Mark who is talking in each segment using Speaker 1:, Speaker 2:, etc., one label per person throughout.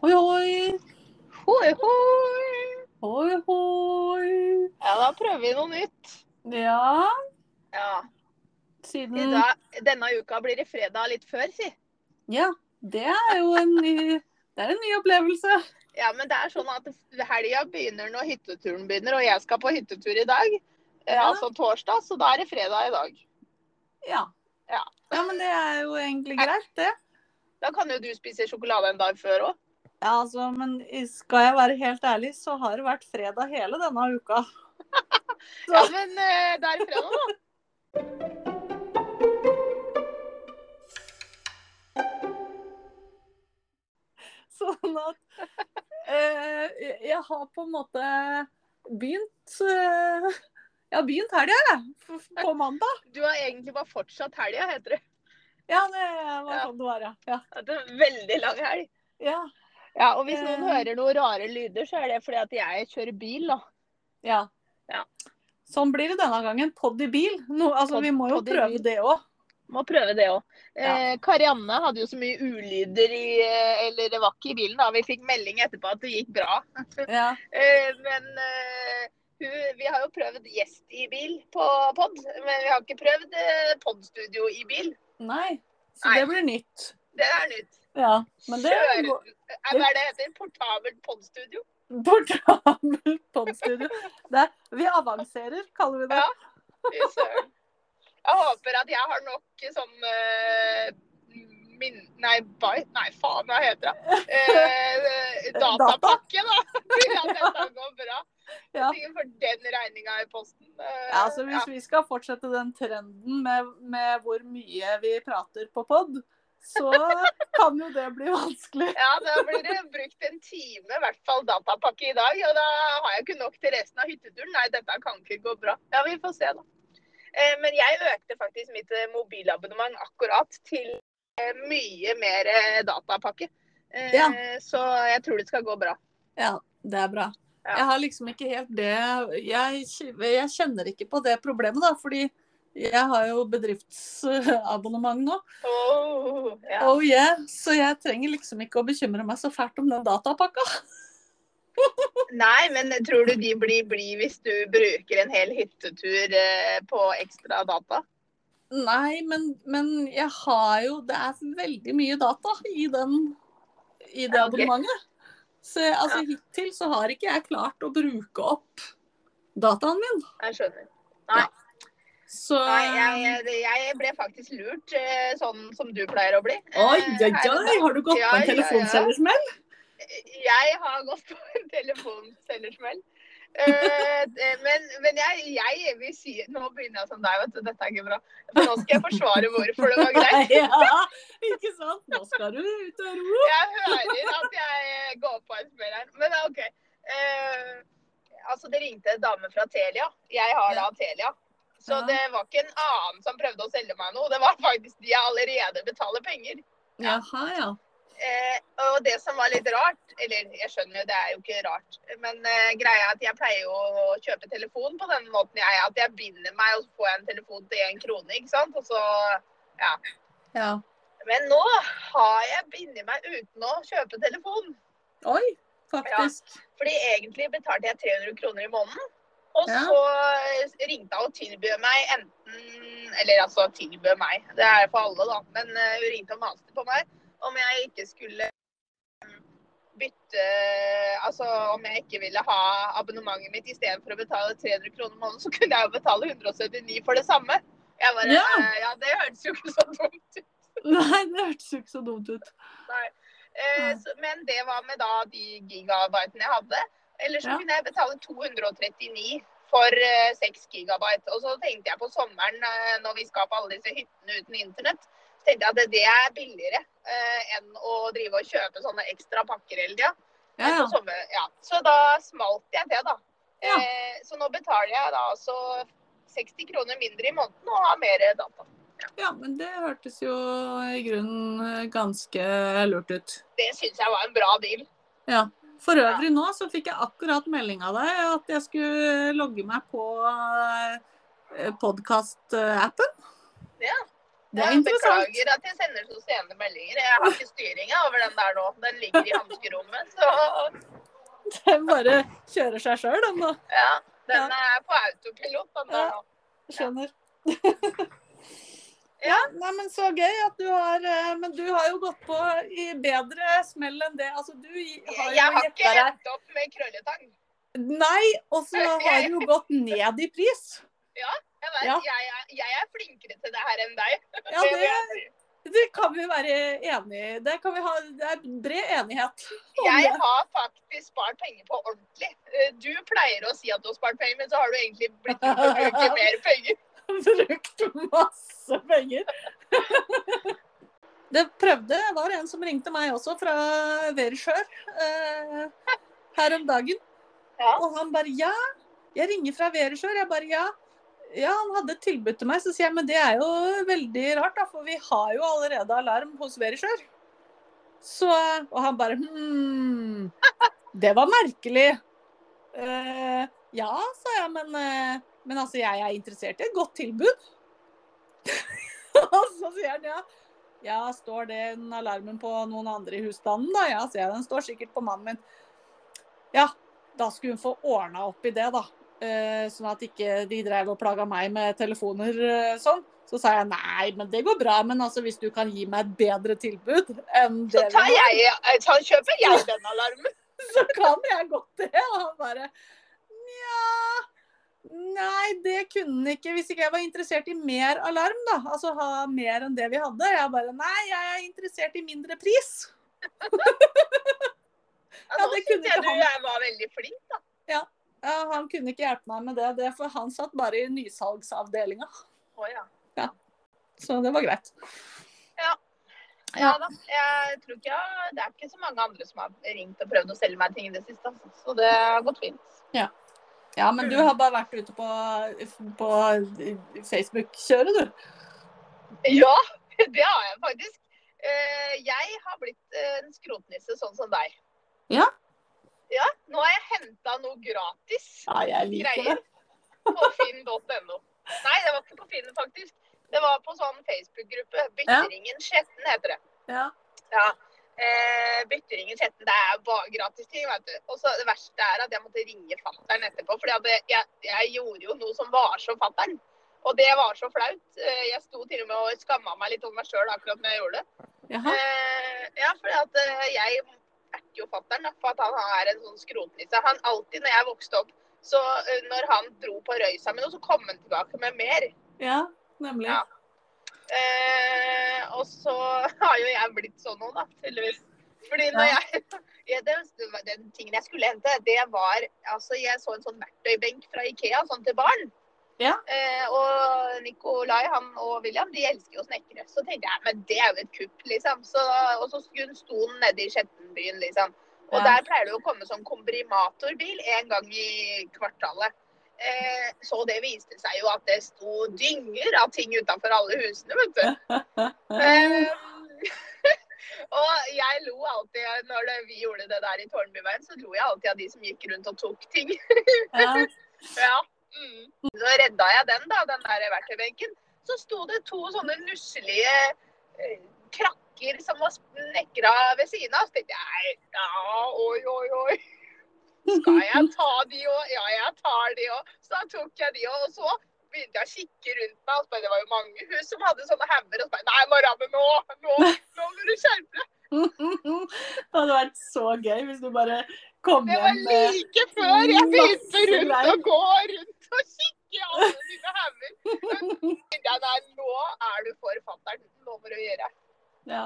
Speaker 1: Hoi, hoi.
Speaker 2: Hoi, hoi!
Speaker 1: Hoi, hoi.
Speaker 2: Ja, da prøver vi noe nytt.
Speaker 1: Ja,
Speaker 2: Ja. I
Speaker 1: siden
Speaker 2: dag, denne uka blir det fredag litt før, si.
Speaker 1: Ja, det er jo en ny Det er en ny opplevelse.
Speaker 2: Ja, men det er sånn at helga begynner når hytteturen begynner, og jeg skal på hyttetur i dag. eh,
Speaker 1: Ja.
Speaker 2: Altså torsdag, så da er det fredag i dag.
Speaker 1: Ja.
Speaker 2: Ja.
Speaker 1: Ja, men det er jo egentlig greit, det.
Speaker 2: Da kan jo du spise sjokolade en dag før òg.
Speaker 1: Ja, altså, men skal jeg være helt ærlig, så har det vært fredag hele denne uka.
Speaker 2: Ja, men eh, det er fredag, da.
Speaker 1: Sånn at eh, jeg har på en måte begynt eh, Jeg har begynt helga, jeg. f- På mandag.
Speaker 2: Du har egentlig bare fortsatt helga, heter det.
Speaker 1: Ja, det var sånn det var, ja. ja.
Speaker 2: At det er en veldig lang helg.
Speaker 1: Ja.
Speaker 2: Ja, og hvis noen
Speaker 1: Eh.
Speaker 2: hører noen rare lyder, så er det fordi at jeg kjører bil, da.
Speaker 1: Ja.
Speaker 2: Ja.
Speaker 1: Sånn blir det denne gangen. Podd i bil. Nå, altså,
Speaker 2: Pod-
Speaker 1: vi må jo
Speaker 2: podd i
Speaker 1: prøve
Speaker 2: bil.
Speaker 1: det òg.
Speaker 2: Må prøve det òg.
Speaker 1: Ja.
Speaker 2: Eh, Karianne hadde jo så mye ulyder i eh, Eller det var ikke i bilen, da. Vi fikk melding etterpå at det gikk bra.
Speaker 1: Ja.
Speaker 2: Eh, men eh, hun, vi har jo prøvd gjest i bil på pod, men vi har ikke prøvd eh, podstudio i bil.
Speaker 1: Nei. Så
Speaker 2: Nei.
Speaker 1: det blir nytt.
Speaker 2: Det er nytt.
Speaker 1: Ja. Men det
Speaker 2: Kjør-
Speaker 1: går
Speaker 2: Eh, Hva er det det heter? Portabelt podstudio?
Speaker 1: portabelt podstudio. Det er- Vi avanserer, kaller vi det.
Speaker 2: Ja. Fy søren. Jeg håper at jeg har nok eh, sånn eh, min, nei, bite, nei, faen, hva heter det? Eh, datapakke, da. Til at dette går bra.
Speaker 1: Ja.
Speaker 2: Sikkert for den regninga i posten. Eh,
Speaker 1: Ja, så
Speaker 2: ja.
Speaker 1: Hvis vi skal fortsette den trenden med, med hvor mye vi prater på pod, så kan jo det bli vanskelig.
Speaker 2: Ja, da blir det brukt en time, i hvert fall datapakke i dag. Og da har jeg ikke nok til resten av hytteturen. Nei, dette kan ikke gå bra. Ja, vi får se, da. Eh, Men jeg økte faktisk mitt eh, mobilabonnement akkurat til eh, mye mer eh, datapakke. Eh,
Speaker 1: Ja.
Speaker 2: Så jeg tror det skal gå bra.
Speaker 1: Ja, det er bra.
Speaker 2: Ja.
Speaker 1: Jeg har liksom ikke helt det jeg, jeg kjenner ikke på det problemet, da. Fordi jeg har jo bedriftsabonnement nå.
Speaker 2: Åh, ja.
Speaker 1: Oh yeah. Så jeg trenger liksom ikke å bekymre meg så fælt om den datapakka.
Speaker 2: Nei, men tror du de blir blid hvis du bruker en hel hyttetur eh, på ekstra data?
Speaker 1: Nei, men, men jeg har jo Det er veldig mye data i, den, i det
Speaker 2: Ja, ok.
Speaker 1: abonnementet. Så jeg- altså, hittil så har ikke jeg klart å bruke opp dataen min.
Speaker 2: Jeg skjønner.
Speaker 1: Så
Speaker 2: Nei, jeg, jeg- jeg ble faktisk lurt, eh, sånn som du pleier å bli. eh,
Speaker 1: Oi, oi,
Speaker 2: her om
Speaker 1: oi!
Speaker 2: dagen.
Speaker 1: Har du gått
Speaker 2: Ja,
Speaker 1: på en
Speaker 2: ja, ja.
Speaker 1: telefonselgersmell?
Speaker 2: Jeg har gått på en telefonselgersmell. Eh, det- men men jeg, jeg vil si Nå begynner jeg som deg, vet du. Dette er ikke bra. For nå skal jeg forsvare hvorfor det var greit.
Speaker 1: ja, ikke sant? Nå skal du ut og ro.
Speaker 2: Jeg hører at jeg eh, går på en smell her. Men det er OK. Eh, altså, det ringte en dame fra Telia. Jeg har da Telia. Så
Speaker 1: Ja.
Speaker 2: det var ikke en annen som prøvde å selge meg noe. Det var faktisk de jeg allerede betaler penger.
Speaker 1: Jaha, ja.
Speaker 2: Eh, og det som var litt rart, eller jeg skjønner jo det er jo ikke rart, men eh, greia er at jeg pleier jo å kjøpe telefon på den måten jeg at jeg binder meg og så får jeg en telefon til én krone, ikke sant. Og så,
Speaker 1: ja.
Speaker 2: men nå har jeg bindet meg uten å kjøpe telefon.
Speaker 1: Oi, faktisk.
Speaker 2: Fordi egentlig betalte jeg 300 kroner i måneden. Og
Speaker 1: Ja.
Speaker 2: så eh, ringte hun og tilbød meg enten Eller altså tilbød meg, det er for alle, da. Men eh, hun ringte og maste på meg om jeg ikke skulle mm, bytte Altså om jeg ikke ville ha abonnementet mitt istedenfor å betale 300 kroner i måneden, så kunne jeg jo betale 179 for det samme. Jeg bare,
Speaker 1: Ja.
Speaker 2: eh, ja det hørtes jo ikke så dumt ut.
Speaker 1: Nei, det hørtes jo ikke så dumt ut.
Speaker 2: Eh,
Speaker 1: Ja.
Speaker 2: så, men det var med da de gigabytene jeg hadde. Ellers så
Speaker 1: Ja.
Speaker 2: kunne jeg betale 239 for eh, 6 gigabyte. Og så tenkte jeg på sommeren, eh, når vi skal på alle disse hyttene uten internett, så tenkte jeg at det- det er billigere eh, enn å drive og kjøpe sånne ekstra pakker hele tida.
Speaker 1: Ja,
Speaker 2: Men på
Speaker 1: ja.
Speaker 2: sommer- ja. Så da smalt jeg det, da.
Speaker 1: Ja.
Speaker 2: Eh, så nå betaler jeg da altså 60 kroner mindre i måneden og har mer data.
Speaker 1: ja, men det hørtes jo i grunnen eh, ganske lurt ut.
Speaker 2: Det syns jeg var en bra deal.
Speaker 1: For øvrig nå så fikk jeg akkurat melding av deg at jeg skulle logge meg på podkast-appen.
Speaker 2: Ja.
Speaker 1: eh, Det er
Speaker 2: jeg
Speaker 1: interessant.
Speaker 2: beklager at jeg sender så sene meldinger. Jeg har ikke styringa over den der nå. Den ligger i hanskerommet. Så
Speaker 1: Den bare kjører seg sjøl, den da.
Speaker 2: ja, den er på autopilot. Den der nå.
Speaker 1: Skjønner. Ja, nei, men så gøy at du har eh, Men du har jo gått på i bedre smell enn det. Altså, du gi- har
Speaker 2: Jeg
Speaker 1: jo
Speaker 2: har ikke
Speaker 1: gjetta deg
Speaker 2: hentet opp med krølletang.
Speaker 1: Nei, og så har du jo gått ned i pris.
Speaker 2: Jeg, vet,
Speaker 1: Ja.
Speaker 2: jeg, er, jeg er flinkere til det her enn deg.
Speaker 1: Ja,
Speaker 2: Det vil
Speaker 1: det, sånn,
Speaker 2: jeg si.
Speaker 1: det kan vi være enig i. Det, kan vi ha, det er bred enighet. om
Speaker 2: Jeg
Speaker 1: det.
Speaker 2: har faktisk spart penger på ordentlig. Eh, Du pleier å si at du har spart penger, men så har du egentlig blitt til å bruke mer penger.
Speaker 1: brukt masse penger. Det prøvde Det var en som ringte meg også, fra Verisjør, eh, her om dagen.
Speaker 2: Ja.
Speaker 1: Og han bare Ja, jeg ringer fra Verisjør. Jeg bare ja. Ja, han hadde et tilbud til meg. Så sier jeg men det er jo veldig rart, da, for vi har jo allerede alarm hos Verisjør. Så Og han bare hm. Det var merkelig. Eh, ja, sa jeg, men, eh, men altså, jeg er interessert i et godt tilbud. Og så sier han ja. Ja, står den alarmen på noen andre i husstanden, da? Ja, sier jeg. Den står sikkert på mannen min. Ja, da skulle hun få ordna opp i det, da. Eh, sånn at ikke de drev og plaga meg med telefoner eh, sånn. Så sa jeg nei, men det går bra. Men altså, hvis du kan gi meg et bedre tilbud enn
Speaker 2: Så
Speaker 1: det vi
Speaker 2: tar
Speaker 1: har
Speaker 2: jeg, eh, så kjøper jeg den alarmen.
Speaker 1: så kan jeg godt det. Og han bare Nja Nei, det kunne han ikke hvis ikke jeg var interessert i mer alarm, da. Altså ha mer enn det vi hadde. Jeg bare Nei, jeg er interessert i mindre pris.
Speaker 2: Ja,
Speaker 1: Ja,
Speaker 2: nå
Speaker 1: det kunne
Speaker 2: syns
Speaker 1: ikke
Speaker 2: Altså, jeg du
Speaker 1: han.
Speaker 2: jeg var veldig flink.
Speaker 1: Ja, han kunne ikke hjelpe meg med det, det, for han satt bare i nysalgsavdelinga.
Speaker 2: Å, ja.
Speaker 1: Så det var greit.
Speaker 2: Ja da. Jeg tror ikke jeg, det er ikke så mange andre som har ringt og prøvd å selge meg ting i det siste. altså. Så det har gått fint.
Speaker 1: Ja, men du har bare vært ute på, på Facebook-kjøret, du.
Speaker 2: Ja, det har jeg faktisk. Eh, Jeg har blitt en skrotnisse sånn som deg.
Speaker 1: Ja.
Speaker 2: Ja, Nå har jeg henta noe gratis
Speaker 1: Ja, jeg liker det.
Speaker 2: greier på finn.no. Nei, det var ikke på Finn, faktisk. Det var på sånn Facebook-gruppe. Bytteringen Skjetten heter det.
Speaker 1: Ja.
Speaker 2: Ja. Eh, Bytteringen Skjetten, det er bare gratis ting, vet du. Og så det verste er at jeg måtte ringe fattern etterpå, for jeg, jeg gjorde jo noe som var så fattern. Og det var så flaut. Eh, Jeg sto til og med og skamma meg litt over meg sjøl akkurat når jeg gjorde det.
Speaker 1: Jaha.
Speaker 2: Eh, ja, for at, eh, jeg erter jo fatter'n da, for at han er en sånn skrotnisse. Han alltid når jeg vokste opp, så eh, når han dro på røysa med noe, så kom han tilbake med mer.
Speaker 1: Ja, nemlig.
Speaker 2: Ja. Eh, og så har jo jeg blitt sånn nå, da, tydeligvis. Fordi når
Speaker 1: Ja.
Speaker 2: jeg, ja, det, det var Den tingen jeg skulle hente, det var Altså, jeg så en sånn verktøybenk fra Ikea, sånn til barn.
Speaker 1: Ja.
Speaker 2: Eh, og Nikolai han og William de elsker jo å snekre. Så tenkte jeg men det er jo et kupp, liksom. Så, og så skulle- sto den nede i Skjettenbyen, liksom. Og
Speaker 1: Ja.
Speaker 2: der pleier det jo å komme sånn komprimatorbil en gang i kvartalet. Eh, så det viste seg jo at det sto dynger av ting utenfor alle husene, vet du. Eh, og jeg lo alltid når det, vi gjorde det der i Tårnbyveien, så lo jeg alltid av de som gikk rundt og tok ting.
Speaker 1: Ja.
Speaker 2: ja. mm. Så redda jeg den, da, den der verktøybenken. Så sto det to sånne nusselige eh, krakker som var snekra ved siden av. Så tenkte jeg ja, oi, oi, oi. Skal jeg ta de òg? Ja, jeg tar de òg. Så da tok jeg de òg. Og så begynte jeg å kikke rundt meg. Og så bare, det var jo mange hus som hadde sånne hauger. Og så bare Nei, Marianne, nå, nå, nå må du skjerpe deg!
Speaker 1: Det hadde vært så gøy hvis du bare kom
Speaker 2: Det var
Speaker 1: hjem eh, med
Speaker 2: like før jeg begynte
Speaker 1: masse
Speaker 2: rundt
Speaker 1: greier.
Speaker 2: og gå rundt og kikke i alle mine hauger. Nei, nei, nå er du for fatter'n. Nå må du gjøre.
Speaker 1: ja.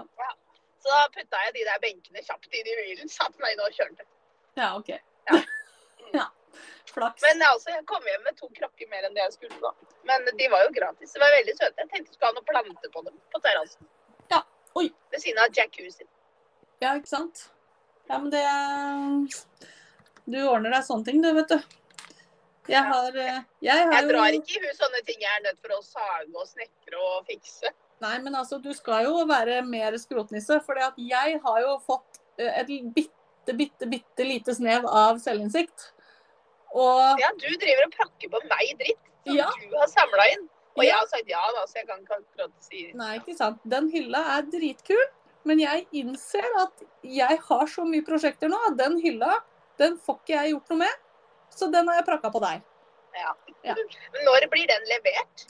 Speaker 2: Så da putta jeg de der benkene kjapt inn i bilen, satte meg inn og kjørte.
Speaker 1: ja, OK.
Speaker 2: Ja.
Speaker 1: Ja. Flaks.
Speaker 2: Men altså, jeg kom hjem med to krakker mer enn det jeg skulle da. Men de var jo gratis. De var veldig søte. Jeg tenkte jeg skulle ha noen planter på dem på terrassen.
Speaker 1: Ja. Oi.
Speaker 2: Ved siden av jacuzzien.
Speaker 1: Ja, ikke sant? Ja, men det eh, Du ordner deg sånne ting, du, vet du. Jeg har eh, Jeg har
Speaker 2: Jeg drar
Speaker 1: jo
Speaker 2: ikke i hus sånne ting jeg er nødt for å sage og snekre og fikse.
Speaker 1: Nei, men altså, du skal jo være mer skrotnisse. For jeg har jo fått eh, et bitte, bitte, bitte lite snev av selvinnsikt. Og
Speaker 2: Ja, du driver og prakker på meg dritt som
Speaker 1: Ja.
Speaker 2: du har samla inn. Og jeg har sagt ja, da, så jeg kan ikke akkurat si
Speaker 1: Nei, ikke sant. Den hylla er dritkul, men jeg innser at jeg har så mye prosjekter nå at den hylla, den får ikke jeg gjort noe med. Så den har jeg prakka på deg.
Speaker 2: ja.
Speaker 1: Ja.
Speaker 2: Men når blir den levert?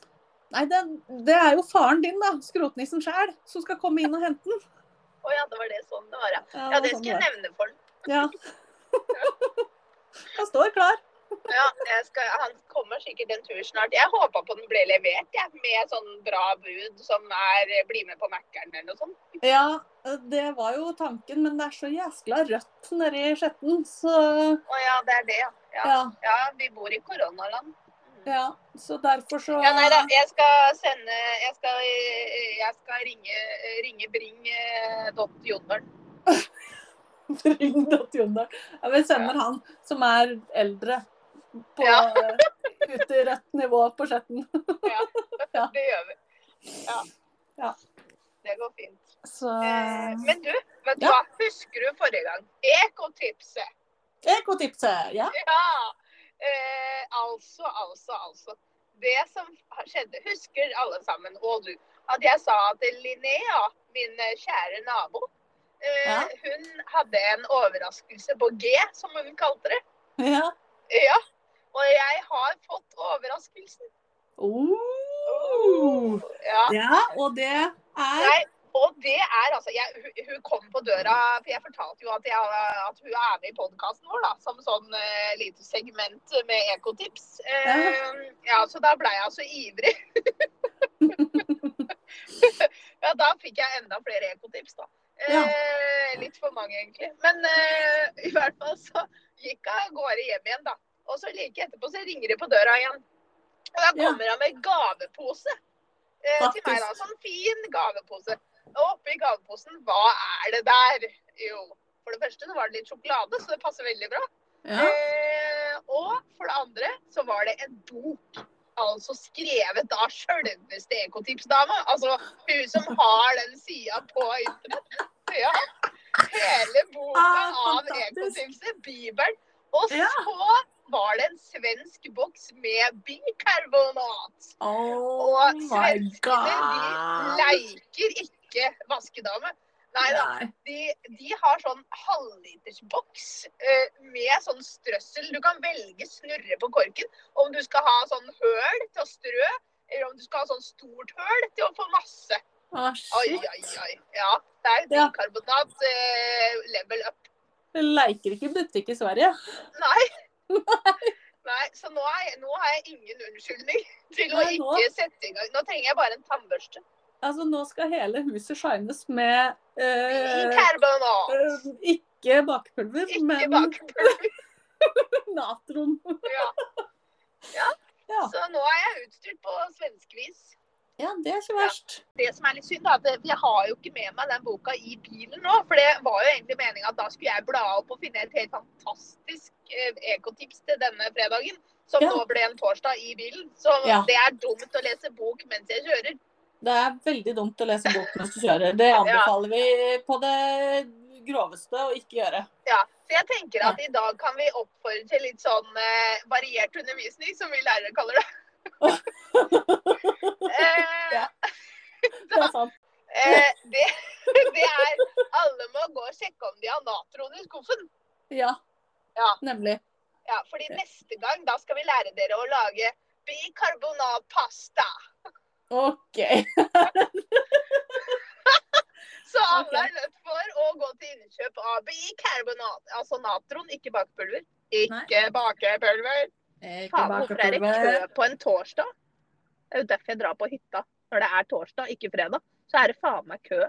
Speaker 1: Nei, den, det er jo faren din, da, skrotnissen sjæl, som skal komme inn og hente den.
Speaker 2: Å ja, det var det sånn det var, ja.
Speaker 1: Ja,
Speaker 2: Ja,
Speaker 1: var
Speaker 2: det
Speaker 1: sånn
Speaker 2: skal jeg
Speaker 1: var.
Speaker 2: nevne for den.
Speaker 1: Ja. Han står klar.
Speaker 2: Ja, jeg skal, han kommer sikkert en tur snart. Jeg håpa på den ble levert, jeg. Med sånn bra bud som er eh, bli med på Mækkern eller noe sånt.
Speaker 1: Ja, det var jo tanken, men det er så jæskla rødt nedi skjetten, så
Speaker 2: Å ja, det er det, ja. Ja,
Speaker 1: ja,
Speaker 2: ja vi bor i koronaland. Mm.
Speaker 1: ja. Så derfor så
Speaker 2: Ja, nei da. Jeg skal sende Jeg skal, jeg skal ringe, ringe eh, bring.jodmøl.
Speaker 1: Ring Dott Jondal. Ja, vi sender han som er eldre på
Speaker 2: Ja.
Speaker 1: ute i rødt nivå på skjetten. Ja.
Speaker 2: Det gjør vi. Ja.
Speaker 1: Ja.
Speaker 2: Det går fint.
Speaker 1: Så
Speaker 2: Eh, men du, vet du
Speaker 1: Ja.
Speaker 2: hva? Husker du forrige gang? Ekotipset.
Speaker 1: eh, Ekotipset. Ja.
Speaker 2: Ja. Eh, altså, altså, altså. Det som skjedde, husker alle sammen, og du, at jeg sa at Linnea, min eh, kjære nabo, eh,
Speaker 1: Ja.
Speaker 2: hun hadde en overraskelse på G, som hun kalte det.
Speaker 1: ja.
Speaker 2: Ja. Og jeg har fått overraskelsen.
Speaker 1: Oh.
Speaker 2: Ja.
Speaker 1: ja, og det er
Speaker 2: Nei, og det er altså jeg, hun, hun kom på døra For jeg fortalte jo at, jeg, at hun er med i podkasten vår, da. Som sånn eh, lite segment med ekotips. Eh, ja, så da blei jeg så ivrig. ja, da fikk jeg enda flere ekotips, da. Eh, Litt for mange, egentlig. Men eh, i hvert fall så gikk hun av gårde hjem igjen, da. Og så like etterpå så ringer det på døra igjen. Og da
Speaker 1: Ja.
Speaker 2: kommer han med gavepose eh, til meg, da. Sånn fin gavepose. Og oppi gaveposen, hva er det der? Jo, for det første så var det litt sjokolade, så det passer veldig bra.
Speaker 1: ja.
Speaker 2: Eh, og for det andre så var det en bok. Altså skrevet av sjølveste Ekotipsdama. Altså hun som har den sida på internett. Ja. Hele boka
Speaker 1: Ah,
Speaker 2: av
Speaker 1: fantastisk.
Speaker 2: Ekotipset. Bibelen. Og
Speaker 1: Ja.
Speaker 2: så var det en svensk boks med bikarbonat.
Speaker 1: Oh
Speaker 2: Og
Speaker 1: my
Speaker 2: svenskene de
Speaker 1: god.
Speaker 2: leiker ikke vaskedame. Nei da. De, de har sånn halvlitersboks eh, med sånn strøssel. Du kan velge snurre på korken. Om du skal ha sånn høl til å strø, eller om du skal ha sånn stort høl til å få masse.
Speaker 1: Å,
Speaker 2: Oi,
Speaker 1: shit.
Speaker 2: oi, oi. Ja, det er
Speaker 1: Ja.
Speaker 2: bikarbonat eh, level up.
Speaker 1: Det leker ikke butikk i Sverige.
Speaker 2: Nei. Nei, Så nå, er jeg, nå har jeg ingen unnskyldning til å
Speaker 1: Nei, nå-
Speaker 2: ikke sette i gang. Nå trenger jeg bare en tannbørste.
Speaker 1: Altså, nå skal hele huset shines med eh,
Speaker 2: Bikarbonat.
Speaker 1: eh, Ikke bakpulver,
Speaker 2: Ikke
Speaker 1: men
Speaker 2: bakpulver.
Speaker 1: natron.
Speaker 2: Ja. ja.
Speaker 1: Ja.
Speaker 2: Så nå er jeg utstyrt på svenskvis.
Speaker 1: Ja, det er ikke
Speaker 2: Ja.
Speaker 1: verst.
Speaker 2: Det som er litt synd, er at det- jeg har jo ikke med meg den boka i bilen nå. For det var jo egentlig meninga at da skulle jeg bla opp og finne et helt fantastisk eh, ekotips til denne fredagen. Som
Speaker 1: Ja.
Speaker 2: nå ble en torsdag i bilen. Så
Speaker 1: Ja.
Speaker 2: det er dumt å lese bok mens jeg kjører.
Speaker 1: Det er veldig dumt å lese bok mens du kjører. Det anbefaler vi på det groveste å ikke gjøre.
Speaker 2: Ja. Så jeg tenker at i dag kan vi oppfordre til litt sånn eh, variert undervisning, som vi lærere kaller det. eh,
Speaker 1: Ja. Det er sant.
Speaker 2: Eh, det, det er Alle må gå og sjekke om de har natron i skuffen.
Speaker 1: Ja,
Speaker 2: Ja.
Speaker 1: nemlig.
Speaker 2: Ja, fordi neste gang da skal vi lære dere å lage bikarbonatpasta.
Speaker 1: OK.
Speaker 2: Så alle
Speaker 1: Ok.
Speaker 2: er nødt for å gå til innkjøp av bikarbonat. Altså natron, ikke bakepulver. Ikke bakepulver.
Speaker 1: Ikke
Speaker 2: Faen, hvorfor er det kø
Speaker 1: bakepulver.
Speaker 2: på en torsdag? Det er jo derfor jeg drar på hytta. Når det er torsdag, ikke fredag, så er det faen meg kø.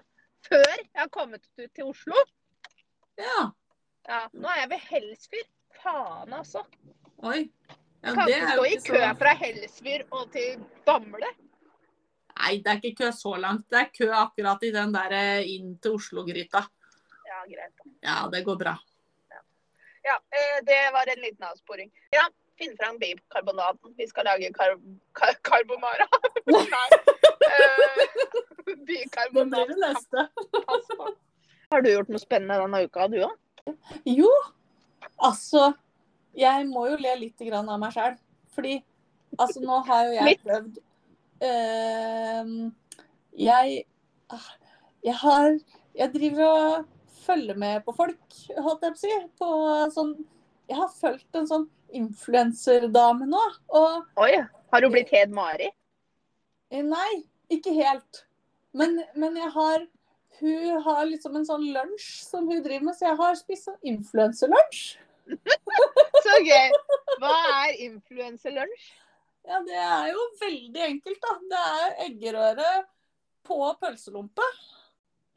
Speaker 2: Før jeg har kommet ut til Oslo.
Speaker 1: Ja.
Speaker 2: Ja, nå er jeg ved Helsfyr. Faen, altså.
Speaker 1: Oi. Ja,
Speaker 2: kan
Speaker 1: det
Speaker 2: ikke
Speaker 1: er
Speaker 2: stå
Speaker 1: jo
Speaker 2: i
Speaker 1: ikke
Speaker 2: kø
Speaker 1: så
Speaker 2: fra Helsfyr og til Bamble.
Speaker 1: Nei, det er ikke kø så langt. Det er kø akkurat i den der eh, inn til Oslo-gryta.
Speaker 2: Ja, greit. da.
Speaker 1: Ja, det går bra.
Speaker 2: Ja, eh, det var en liten avsporing. Ja, finn fram bikarbonaten. Vi skal lage kar kar karbonara. Nei. Eh,
Speaker 1: Det blir det
Speaker 2: Bikarbonat.
Speaker 1: neste.
Speaker 2: Pass på. Har du gjort noe spennende denne uka, du òg?
Speaker 1: Jo, altså Jeg må jo le litt grann av meg sjøl. Fordi altså, nå har jo jeg
Speaker 2: Litt.
Speaker 1: prøvd eh, jeg, ah, jeg har Jeg driver og følger med på folk, holdt jeg på å si. På sånn Jeg har fulgt en sånn influenserdame nå. Og
Speaker 2: Oi, har hun blitt Hed Mari?
Speaker 1: Eh, Nei, ikke helt. Men, men jeg har Hun har liksom en sånn lunsj som hun driver med, så jeg har spist sånn influenserlunsj.
Speaker 2: Så gøy. Hva er influenserlunsj?
Speaker 1: Ja, det er jo veldig enkelt, da. Det er eggerøre på pølselompe.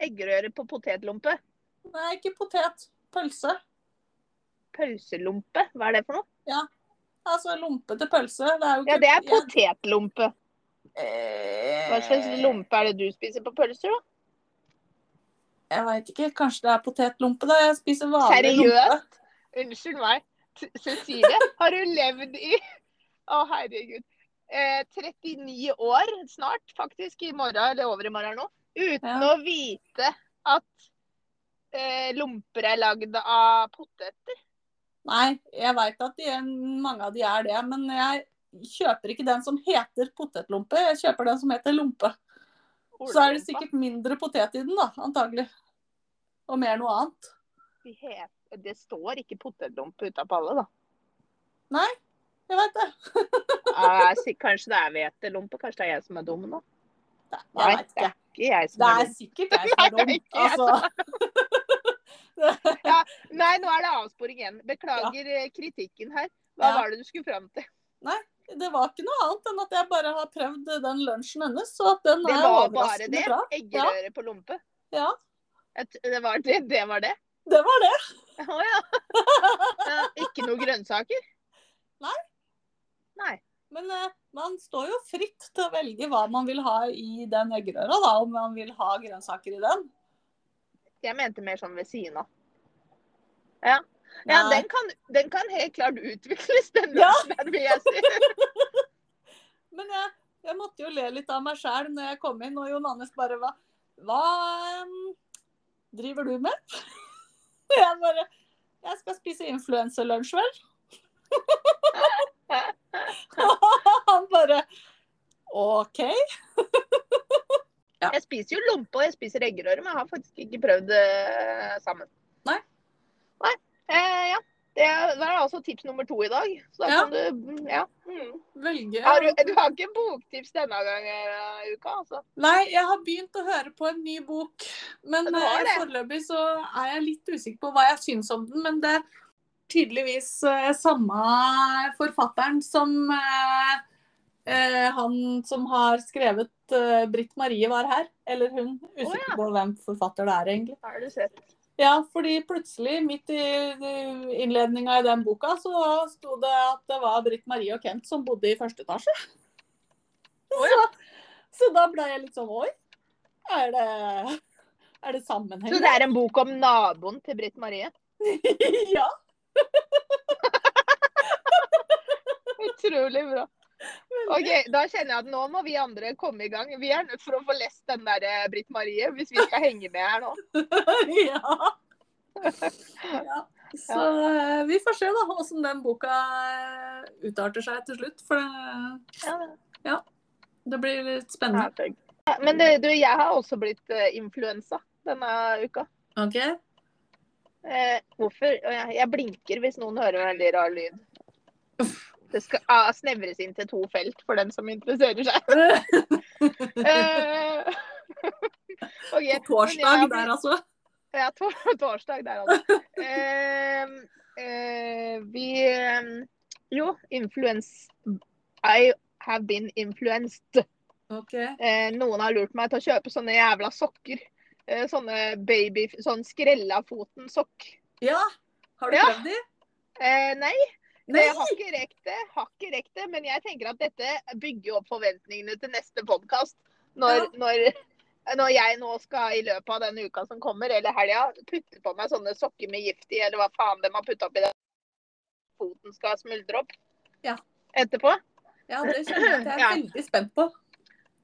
Speaker 2: Eggerøre på potetlompe.
Speaker 1: Nei, ikke potet. Pølse.
Speaker 2: Pølselompe, hva er det for noe?
Speaker 1: Altså lompe til pølse. Det er jo ikke
Speaker 2: Ja, det er potetlompe.
Speaker 1: Eh,
Speaker 2: Hva slags lompe er det du spiser på pølser, da?
Speaker 1: Jeg veit ikke. Kanskje det er potetlompe, da. Jeg spiser vanlig
Speaker 2: Seriøst?
Speaker 1: lompe.
Speaker 2: Unnskyld meg. T- Cecilie, har du levd i Å, herregud. Eh, 39 år snart, faktisk, i morgen eller over i morgen nå, uten
Speaker 1: Ja.
Speaker 2: å vite at eh, lomper er lagd av poteter.
Speaker 1: Nei, jeg veit at de, mange av de er det, men jeg kjøper ikke den som heter potetlompe, jeg kjøper den som heter lompe. Så er det sikkert mindre potet i den, da, antagelig. Og mer noe annet.
Speaker 2: De het- Det står ikke potetlompe utapå alle, da.
Speaker 1: Jeg veit det.
Speaker 2: Eh, sik- kanskje det er hvetelompe. Kanskje det er jeg som er dum nå.
Speaker 1: Nei,
Speaker 2: Nei,
Speaker 1: jeg vet ikke.
Speaker 2: Ikke jeg som
Speaker 1: Det
Speaker 2: er
Speaker 1: er
Speaker 2: dum.
Speaker 1: sikkert jeg som er dum.
Speaker 2: Nei, det er ikke
Speaker 1: Altså,
Speaker 2: Nei, nå er det avsporing igjen. Beklager eh, kritikken her. Hva
Speaker 1: Ja.
Speaker 2: var det du skulle fram til?
Speaker 1: det var ikke noe annet enn at jeg bare har prøvd den lunsjen hennes, og at den
Speaker 2: Det
Speaker 1: er
Speaker 2: var bare
Speaker 1: overraskende
Speaker 2: det.
Speaker 1: bra.
Speaker 2: Eggerøre på lompe.
Speaker 1: Ja.
Speaker 2: Et- Det var det. Det var det.
Speaker 1: Det var det.
Speaker 2: Å ja. Eh, Ikke noe grønnsaker?
Speaker 1: Nei.
Speaker 2: Nei.
Speaker 1: Men eh, man står jo fritt til å velge hva man vil ha i den eggerøra, da, om man vil ha grønnsaker i den.
Speaker 2: Jeg mente mer sånn ved siden av. Ja. Ja,
Speaker 1: Nei.
Speaker 2: den kan, den kan helt klart utvikles, den
Speaker 1: Ja.
Speaker 2: lunsjen her, vil jeg si.
Speaker 1: Men jeg, jeg måtte jo le litt av meg sjæl når jeg kom inn, og Jon Anders bare Hva, hva em, driver du med? Og jeg bare Jeg skal spise influenserlunsj, vel? Han bare OK.
Speaker 2: Jeg spiser jo lompe og jeg spiser eggerøre, men jeg har faktisk ikke prøvd det eh, sammen.
Speaker 1: Nei.
Speaker 2: Nei. Eh, ja. Det var altså tips nummer to i dag. Så da
Speaker 1: Ja.
Speaker 2: kan du Ja. Mm.
Speaker 1: Velge
Speaker 2: Har du, du har ikke boktips denne gangen eh, uka, altså?
Speaker 1: Nei, jeg har begynt å høre på en ny bok. Men
Speaker 2: Ja, du har
Speaker 1: eh,
Speaker 2: det.
Speaker 1: foreløpig så er jeg litt usikker på hva jeg syns om den. Men det er tydeligvis eh, samme forfatteren som eh, eh, han som har skrevet eh, 'Britt Marie var her'. Eller hun. Usikker
Speaker 2: Å, ja.
Speaker 1: på hvem forfatter det er, egentlig.
Speaker 2: Har du sett?
Speaker 1: Ja, fordi plutselig, midt i innledninga i den boka, så sto det at det var Britt Marie og Kent som bodde i første etasje. Så, så da ble jeg litt sånn Oi, er det, er det sammenheng?
Speaker 2: Så det er en bok om naboen til Britt Marie?
Speaker 1: ja,
Speaker 2: Utrolig bra. Ok, Da kjenner jeg at nå må vi andre komme i gang. Vi er nødt for å få lest den der eh, Britt Marie, hvis vi skal henge med her nå.
Speaker 1: ja. ja. Så eh, vi får se da åssen den boka eh, utarter seg til slutt. For det,
Speaker 2: Ja,
Speaker 1: det blir litt
Speaker 2: Ja,
Speaker 1: spennende.
Speaker 2: takk. Men eh, du, jeg har også blitt eh, influensa denne uka.
Speaker 1: OK?
Speaker 2: Eh, hvorfor? Og Jeg, jeg blinker hvis noen hører en veldig rar lyd. Det skal ah, snevres inn til to felt for den som interesserer seg. Eh,
Speaker 1: På
Speaker 2: ok, men
Speaker 1: torsdag
Speaker 2: jeg har
Speaker 1: der, altså.
Speaker 2: Ja, tor torsdag der, altså. Ehm, eh, vi ehm, Jo, influens... I have been influenced.
Speaker 1: OK.
Speaker 2: Eh, noen har lurt meg til å kjøpe sånne jævla sokker. Eh, sånne baby... Sånn skrella foten-sokk.
Speaker 1: Ja. Har du
Speaker 2: Ja.
Speaker 1: prøvd de?
Speaker 2: Eh, nei,
Speaker 1: Nei!
Speaker 2: jeg har ikke rekt det. Har ikke rekt det, men jeg tenker at dette bygger opp forventningene til neste podkast. Når, når, når jeg nå skal i løpet av den uka som kommer, eller helga, putte på meg sånne sokker med gift i, eller hva faen de har putta oppi den foten skal smuldre opp
Speaker 1: Ja.
Speaker 2: etterpå.
Speaker 1: Ja, det kjenner jeg at jeg er
Speaker 2: Ja.
Speaker 1: veldig spent på.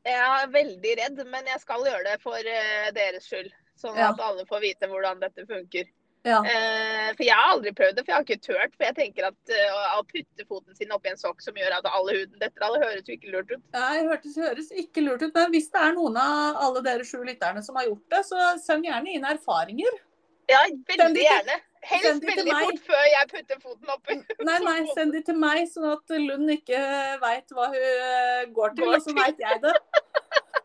Speaker 2: Jeg er veldig redd, men jeg skal gjøre det for eh, deres skyld. Sånn
Speaker 1: Ja.
Speaker 2: at alle får vite hvordan dette funker.
Speaker 1: Ja.
Speaker 2: Eh, for jeg har aldri prøvd det, for jeg har ikke tørt. For jeg tenker at eh, å putte foten sin oppi en sokk som gjør at alle huden detter av, det høres jo ikke lurt ut.
Speaker 1: Det hørtes, høres ikke lurt ut, men hvis det er noen av alle dere sju lytterne som har gjort det, så send gjerne inn erfaringer.
Speaker 2: Ja,
Speaker 1: Send
Speaker 2: veldig
Speaker 1: det til-
Speaker 2: gjerne.
Speaker 1: send
Speaker 2: Helst
Speaker 1: det til
Speaker 2: veldig
Speaker 1: meg.
Speaker 2: fort før jeg putter foten oppi.
Speaker 1: Nei, nei, send de til meg, sånn at Lund ikke veit hva hun eh, går til,
Speaker 2: Går
Speaker 1: og så veit jeg det.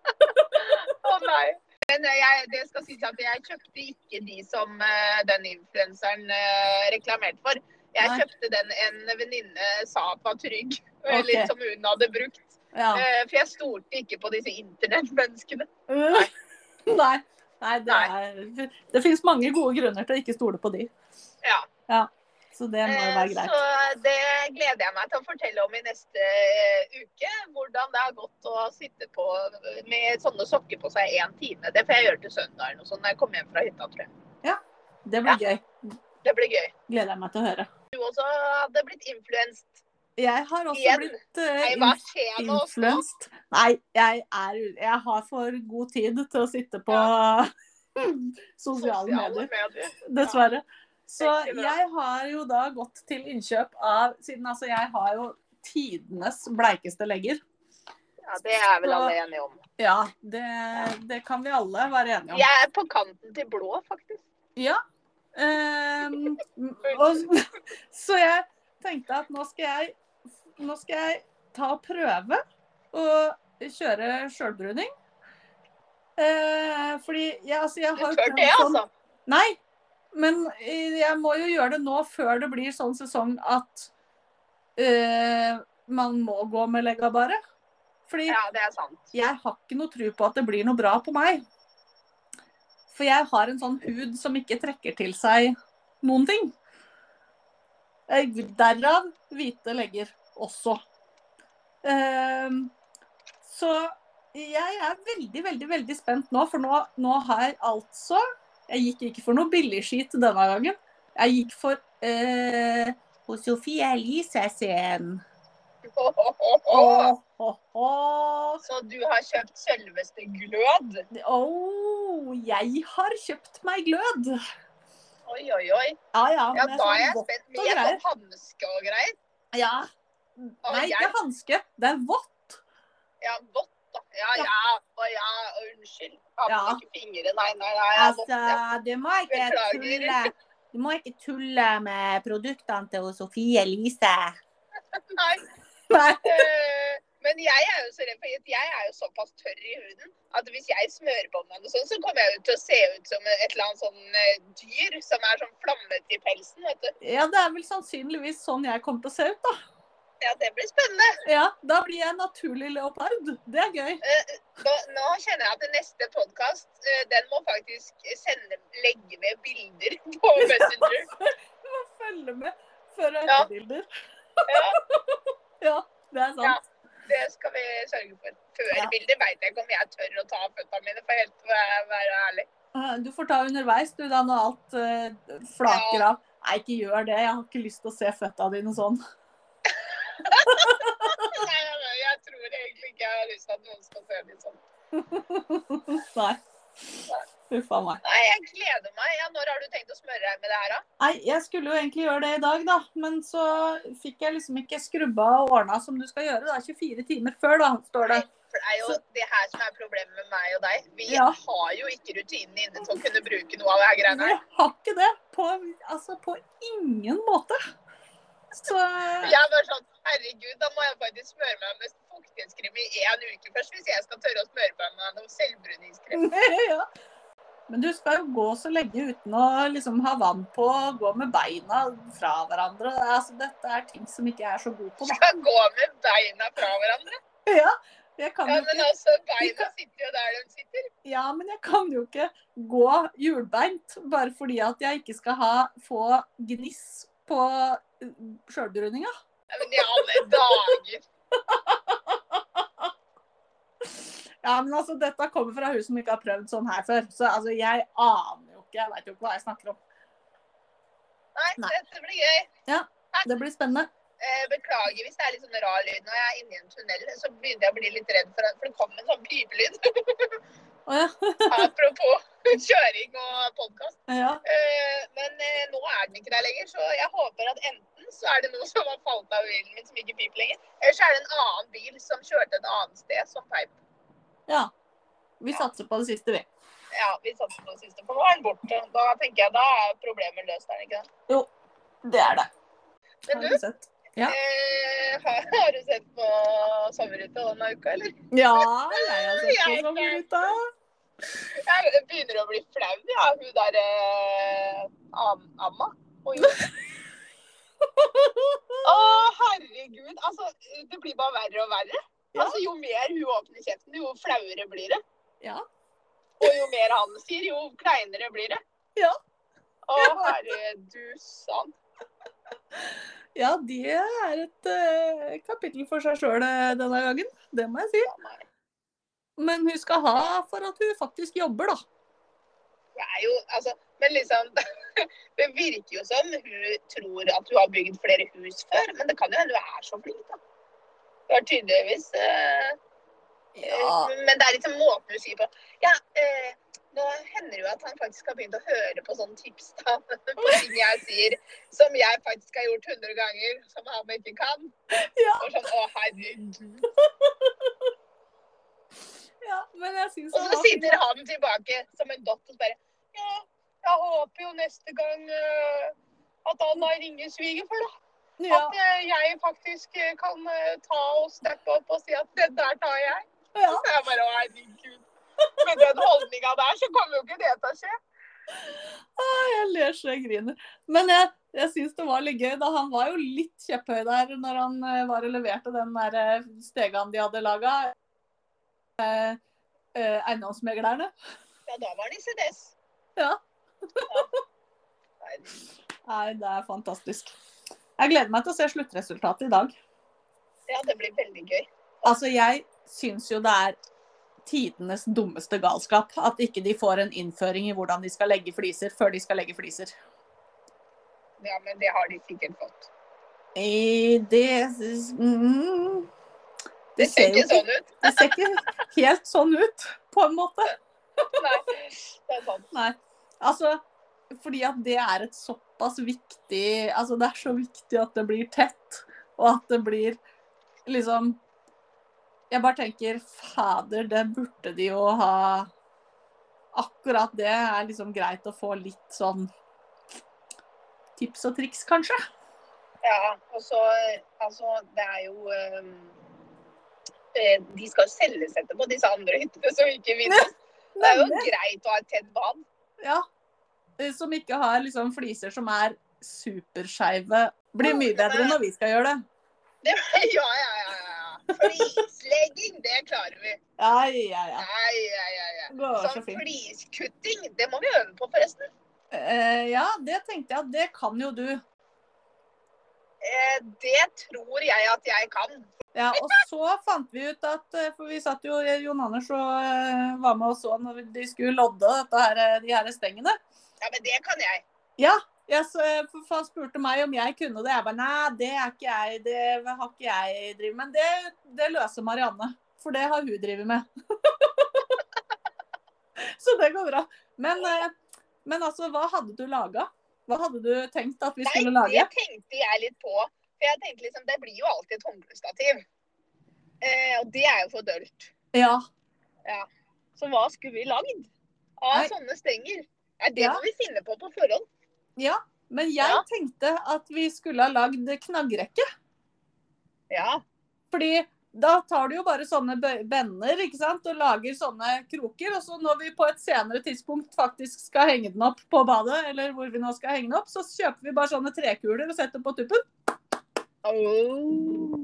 Speaker 2: Å nei. Men eh, jeg, det skal sies at jeg kjøpte ikke de som eh, den influenseren eh, reklamerte for. Jeg
Speaker 1: Nei.
Speaker 2: kjøpte den en venninne sa at var trygg,
Speaker 1: Ok.
Speaker 2: eller som hun hadde brukt.
Speaker 1: Ja.
Speaker 2: Eh, For jeg stolte ikke på disse internettmenneskene.
Speaker 1: Nei. Nei, det, er, det finnes mange gode grunner til å ikke stole på de.
Speaker 2: Ja.
Speaker 1: Så det må jo
Speaker 2: Eh,
Speaker 1: være greit.
Speaker 2: Så det gleder jeg meg til å fortelle om i neste eh, uke. Hvordan det har gått å sitte på med sånne sokker på seg én time. Det får jeg gjøre til søndag eller noe sånt når jeg kommer hjem fra hytta, tror jeg.
Speaker 1: Det blir gøy.
Speaker 2: Det blir gøy.
Speaker 1: Gleder jeg meg til å høre.
Speaker 2: Du også hadde blitt influenset.
Speaker 1: Jeg har også
Speaker 2: Igjen?
Speaker 1: blitt eh,
Speaker 2: Nei, hva skjer nå?
Speaker 1: influenced. Nei, jeg, er, jeg har for god tid til å sitte på sosiale medier.
Speaker 2: medier.
Speaker 1: dessverre. Så
Speaker 2: Det er ikke bra.
Speaker 1: jeg har jo da gått til innkjøp av Siden altså jeg har jo tidenes bleikeste legger.
Speaker 2: Ja, det er vel alle enige om.
Speaker 1: Ja, det, det kan vi alle være enige om.
Speaker 2: Jeg er på kanten til blå, faktisk.
Speaker 1: Ehm, og, så jeg tenkte at nå skal jeg, nå skal jeg ta og prøve å kjøre sjølbruning. Eh, fordi jeg, altså, jeg
Speaker 2: Du
Speaker 1: har jo
Speaker 2: tør
Speaker 1: prøvd
Speaker 2: det,
Speaker 1: sånn-
Speaker 2: altså?
Speaker 1: Nei, men eh, jeg må jo gjøre det nå før det blir sånn sesong at eh, man må gå med legga bare. Fordi
Speaker 2: Ja, det er sant.
Speaker 1: jeg har ikke noe tro på at det blir noe bra på meg. For jeg har en sånn hud som ikke trekker til seg noen ting. Eh, Derav hvite legger også. Ehm, Så jeg er veldig, veldig, veldig spent nå, for nå, nå har jeg altså Jeg gikk ikke for noe billigskit denne gangen. Jeg gikk for eh, hos Sofie Elise sin. Åh, åh, åh.
Speaker 2: Så du har kjøpt selveste glød?
Speaker 1: Oh, jeg har kjøpt meg glød.
Speaker 2: Oi, oi, oi.
Speaker 1: Ja, ja.
Speaker 2: Ja,
Speaker 1: med
Speaker 2: da er jeg
Speaker 1: sånn vått
Speaker 2: spent.
Speaker 1: og
Speaker 2: Med
Speaker 1: greier.
Speaker 2: sånn hanske og greier.
Speaker 1: Ja.
Speaker 2: Å,
Speaker 1: Nei, ikke
Speaker 2: jeg-
Speaker 1: hanske. Det er vått.
Speaker 2: Ja, vått, da. Ja,
Speaker 1: Ja.
Speaker 2: ja. Å ja, unnskyld. Hadde
Speaker 1: Ja.
Speaker 2: ikke fingre. Nei, nei, nei. jeg er vått,
Speaker 1: Altså,
Speaker 2: ja.
Speaker 1: du må ikke
Speaker 2: Beklager.
Speaker 1: tulle. Du må ikke tulle med produktene til Sofie Elise.
Speaker 2: Nei.
Speaker 1: Altså, Nei.
Speaker 2: Eh, Men jeg er jo så redd for at jeg er jo såpass tørr i huden at hvis jeg smører på meg noe sånt, så kommer jeg jo til å se ut som et eller annet sånn eh, dyr som er sånn flammet i pelsen. Vet du.
Speaker 1: Ja, det er vel sannsynligvis sånn jeg kommer til å se ut, da.
Speaker 2: Ja, det blir spennende.
Speaker 1: Ja, da blir jeg en naturlig leopard. Det er gøy.
Speaker 2: Nå, nå kjenner jeg at det neste podkast, den må faktisk sende, legge med bilder på Messenger.
Speaker 1: Du må følge med før og
Speaker 2: Ja.
Speaker 1: etterbilder.
Speaker 2: Ja.
Speaker 1: Ja, det er sant.
Speaker 2: Ja. Det skal vi sørge for. Før
Speaker 1: Ja.
Speaker 2: bilder veit jeg ikke om jeg tør å ta av føttene mine, for helt å være- være ærlig.
Speaker 1: Eh, Du får ta underveis, du, da, når alt eh, flaker av. Nei, ikke gjør det. Jeg har ikke lyst til å se føtta dine sånn.
Speaker 2: Nei, nei, nei, Jeg tror egentlig ikke jeg har lyst til at noen skal se det sånn.
Speaker 1: Nei. Huff a meg.
Speaker 2: Nei, jeg gleder meg. Ja, når har du tenkt å smøre deg med det her, da?
Speaker 1: Nei, jeg skulle jo egentlig gjøre det i dag, da. Men så fikk jeg liksom ikke skrubba og ordna som du skal gjøre. Det er 24 timer før, da, står det.
Speaker 2: For det er jo det her som er problemet med meg og deg. Vi
Speaker 1: Ja.
Speaker 2: har jo ikke rutinene inne til å kunne bruke noe av det her
Speaker 1: Jeg
Speaker 2: greiene her.
Speaker 1: har ikke det. På, altså på ingen måte. Så eh,
Speaker 2: Jeg er bare sånn, herregud, da må jeg faktisk smøre meg med fuktighetskrem i én uke først, hvis jeg skal tørre å smøre meg med noe selvbruningskrem.
Speaker 1: Mm. ja. Men du skal jo gå så lenge uten å liksom ha vann på, og gå med beina fra hverandre. Altså, dette er ting som ikke jeg er så god på, da.
Speaker 2: Skal gå med beina fra hverandre.
Speaker 1: Ja, jeg kan
Speaker 2: Ja,
Speaker 1: jo
Speaker 2: men
Speaker 1: ikke,
Speaker 2: altså, beina sitter jo der de sitter.
Speaker 1: ja, men jeg kan jo ikke gå hjulbeint bare fordi at jeg ikke skal ha, få gniss på eh, sjølbruninga.
Speaker 2: Ja, Men i alle dager.
Speaker 1: Ja, men altså, dette kommer fra hun som ikke har prøvd sånn her før. Så altså, jeg aner jo ikke. Jeg veit jo ikke hva jeg snakker om.
Speaker 2: Nei,
Speaker 1: Nei.
Speaker 2: dette blir gøy.
Speaker 1: Det blir spennende.
Speaker 2: Eh, Beklager hvis det er litt sånn rar lyd. Når jeg er inne i en tunnel, så begynner jeg å bli litt redd for at for det kommer en sånn pipelyd.
Speaker 1: Å ja.
Speaker 2: Apropos kjøring og podkast.
Speaker 1: ja.
Speaker 2: Eh, Men eh, nå er den ikke der lenger, så jeg håper at enten så er det noe som har falt av bilen min som ikke piper lenger, eller så er det en annen bil som kjørte et annet sted som peip.
Speaker 1: ja. Vi satser på det siste, vi.
Speaker 2: Ja, vi satser på det siste, for nå er den borte. Da tenker jeg da er problemet løst, er det ikke det?
Speaker 1: Det er det.
Speaker 2: Men
Speaker 1: Har
Speaker 2: du,
Speaker 1: du sett? Ja.
Speaker 2: eh, har, har du sett på Sommerruta denne uka, eller?
Speaker 1: Ja, jeg altså har sett på
Speaker 2: Jeg
Speaker 1: Sommerruta.
Speaker 2: Jeg begynner å bli flau, ja, hun der eh, Am- Amma. Oi. Å, herregud. Altså, det blir bare verre og verre.
Speaker 1: Ja.
Speaker 2: Altså, jo mer hun åpner kjeften, jo flauere blir det.
Speaker 1: Ja.
Speaker 2: Og jo mer han sier, jo kleinere blir det.
Speaker 1: Ja.
Speaker 2: Å,
Speaker 1: Ja.
Speaker 2: herre du sann.
Speaker 1: Ja, det er et eh, kapittel for seg sjøl denne gangen. Det må jeg si.
Speaker 2: Ja, nei.
Speaker 1: Men hun skal ha for at hun faktisk jobber, da.
Speaker 2: Det er jo, altså, men liksom Det virker jo som hun tror at hun har bygd flere hus før, men det kan jo hende hun er så flink, da. Hun har tydeligvis eh, Eh, Men det er liksom måten du sier på. Ja, eh, nå hender det jo at han faktisk har begynt å høre på sånne tips da, på ting jeg sier, som jeg faktisk har gjort 100 ganger, som han ikke kan.
Speaker 1: Ja.
Speaker 2: Og sånn, å herregud.
Speaker 1: ja men jeg syns
Speaker 2: Og så sitter han tilbake som en dott og bare, ja, jeg håper jo neste gang eh, at han da ringer svigerfar da.
Speaker 1: ja,
Speaker 2: At eh, jeg faktisk eh, kan eh, ta og steppe opp og si at det der tar jeg.
Speaker 1: ja.
Speaker 2: Så jeg bare, å herregud. Med den holdninga der, så kommer jo ikke det til å skje.
Speaker 1: Jeg ler så jeg griner. Men jeg, jeg syns det var litt gøy. da Han var jo litt kjepphøy der når han eh, var og leverte den der eh, stegan de hadde laga. Eiendomsmeglerne.
Speaker 2: Ja, da var det CDS.
Speaker 1: Ja.
Speaker 2: Nei,
Speaker 1: Nei, det er fantastisk. Jeg gleder meg til å se sluttresultatet i dag.
Speaker 2: Ja, det blir veldig gøy.
Speaker 1: Altså, jeg syns jo det er tidenes dummeste galskap at ikke de får en innføring i hvordan de skal legge fliser før de skal legge fliser.
Speaker 2: Ja, men det har de sikkert fått.
Speaker 1: Eh, Det mm,
Speaker 2: Det
Speaker 1: Det
Speaker 2: ser
Speaker 1: ser jo
Speaker 2: ikke
Speaker 1: ikke,
Speaker 2: sånn ut.
Speaker 1: det ser ikke helt sånn ut, på en måte.
Speaker 2: Nei, det er sant.
Speaker 1: Nei. Altså, fordi at det er et såpass viktig Altså, det er så viktig at det blir tett, og at det blir liksom Jeg bare tenker Fader, det burde de jo ha Akkurat det er liksom greit å få litt sånn tips og triks, kanskje.
Speaker 2: Ja, og så Altså, det er jo ehm, eh, De skal jo selges etterpå, disse andre hyttene som ikke vinner. Det er jo greit å ha et tett bad.
Speaker 1: Ja. Eh, Som ikke har liksom fliser som er superskeive. Blir mye bedre når vi skal gjøre det.
Speaker 2: Det, ja, ja, ja. ja. Flislegging, det klarer vi.
Speaker 1: Ja, ja, ja.
Speaker 2: Nei, ja, ja, ja.
Speaker 1: Det går så
Speaker 2: Sånn
Speaker 1: fint.
Speaker 2: fliskutting, det må vi øve på, forresten.
Speaker 1: Eh, ja, det tenkte jeg at det kan jo du.
Speaker 2: Eh, det tror jeg at jeg kan.
Speaker 1: Ja, og så fant vi ut at eh, For vi satt jo Jon Anders og eh, var med og så når de skulle lodde dette her, eh, de her stengene.
Speaker 2: Ja, men det kan jeg.
Speaker 1: Ja, så, eh, for for Han spurte meg om jeg kunne det. Jeg bare nei, det er ikke jeg, det har ikke jeg drevet med. Men det, det løser Marianne, for det har hun drevet med. så det går bra. Men, eh, men altså, hva hadde du laga? Hva hadde du tenkt at vi skulle
Speaker 2: Nei,
Speaker 1: lage?
Speaker 2: Det tenkte jeg litt på. For jeg tenkte liksom, det blir jo alltid et håndklestativ. Eh, og det er jo for dølt.
Speaker 1: Ja.
Speaker 2: Så hva skulle vi lagd av
Speaker 1: Nei.
Speaker 2: sånne stenger? Ja, det
Speaker 1: Ja.
Speaker 2: må vi finne på på forhånd.
Speaker 1: Men jeg
Speaker 2: Ja.
Speaker 1: tenkte at vi skulle ha lagd knaggrekke.
Speaker 2: Ja.
Speaker 1: Fordi da tar du jo bare sånne bø- bender ikke sant? og lager sånne kroker. Og så når vi på et senere tidspunkt faktisk skal henge den opp på badet, eller hvor vi nå skal henge den opp, så kjøper vi bare sånne trekuler og setter på tuppen.
Speaker 2: Åh,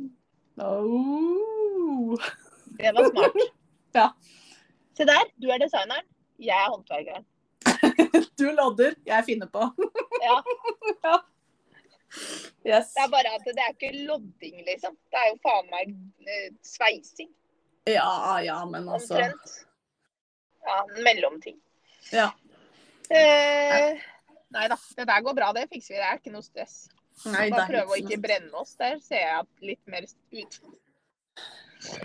Speaker 1: Oh.
Speaker 2: det var smart.
Speaker 1: Ja.
Speaker 2: Se der, du er designeren. Jeg er håndverkeren.
Speaker 1: Du lodder, jeg finner på.
Speaker 2: Ja.
Speaker 1: Ja. Yes.
Speaker 2: Det er bare at det er ikke lodding, liksom. Det er jo faen meg eh, sveising.
Speaker 1: Ja, ja, men altså
Speaker 2: Omtrent. Ja, en mellomting.
Speaker 1: Ja.
Speaker 2: Eh, nei da, det der går bra. Det fikser vi. Det er ikke noe stress.
Speaker 1: Nei, det
Speaker 2: Bare
Speaker 1: er
Speaker 2: prøve å
Speaker 1: ikke
Speaker 2: ikke
Speaker 1: sånn.
Speaker 2: brenne oss. Der ser jeg at litt mer ut.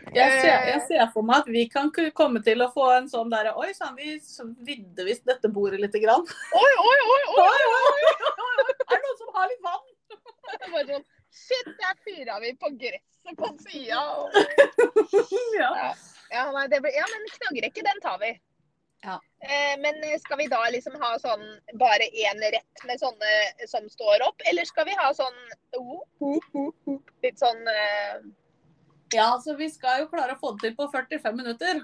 Speaker 1: Jeg ser, jeg ser for meg at vi kan ku- komme til å få en sånn derre Oi sann, vi så vidde visst dette bordet lite grann.
Speaker 2: Oi, oi, oi!
Speaker 1: Oi,
Speaker 2: oi.
Speaker 1: oi, oi, oi, oi, oi. Er det noen som har litt vann?
Speaker 2: Bare sånn, Shit, der fyra vi på gresset på sida.
Speaker 1: Ja.
Speaker 2: Ja, nei, det blir, ja, men knagrekke, den tar vi.
Speaker 1: Ja.
Speaker 2: Eh, men skal vi da liksom ha sånn bare én rett med sånne som står opp, eller skal vi ha sånn oh, oh, oh, oh, Litt sånn eh,
Speaker 1: ja, så vi skal jo klare å få det til på 45 minutter.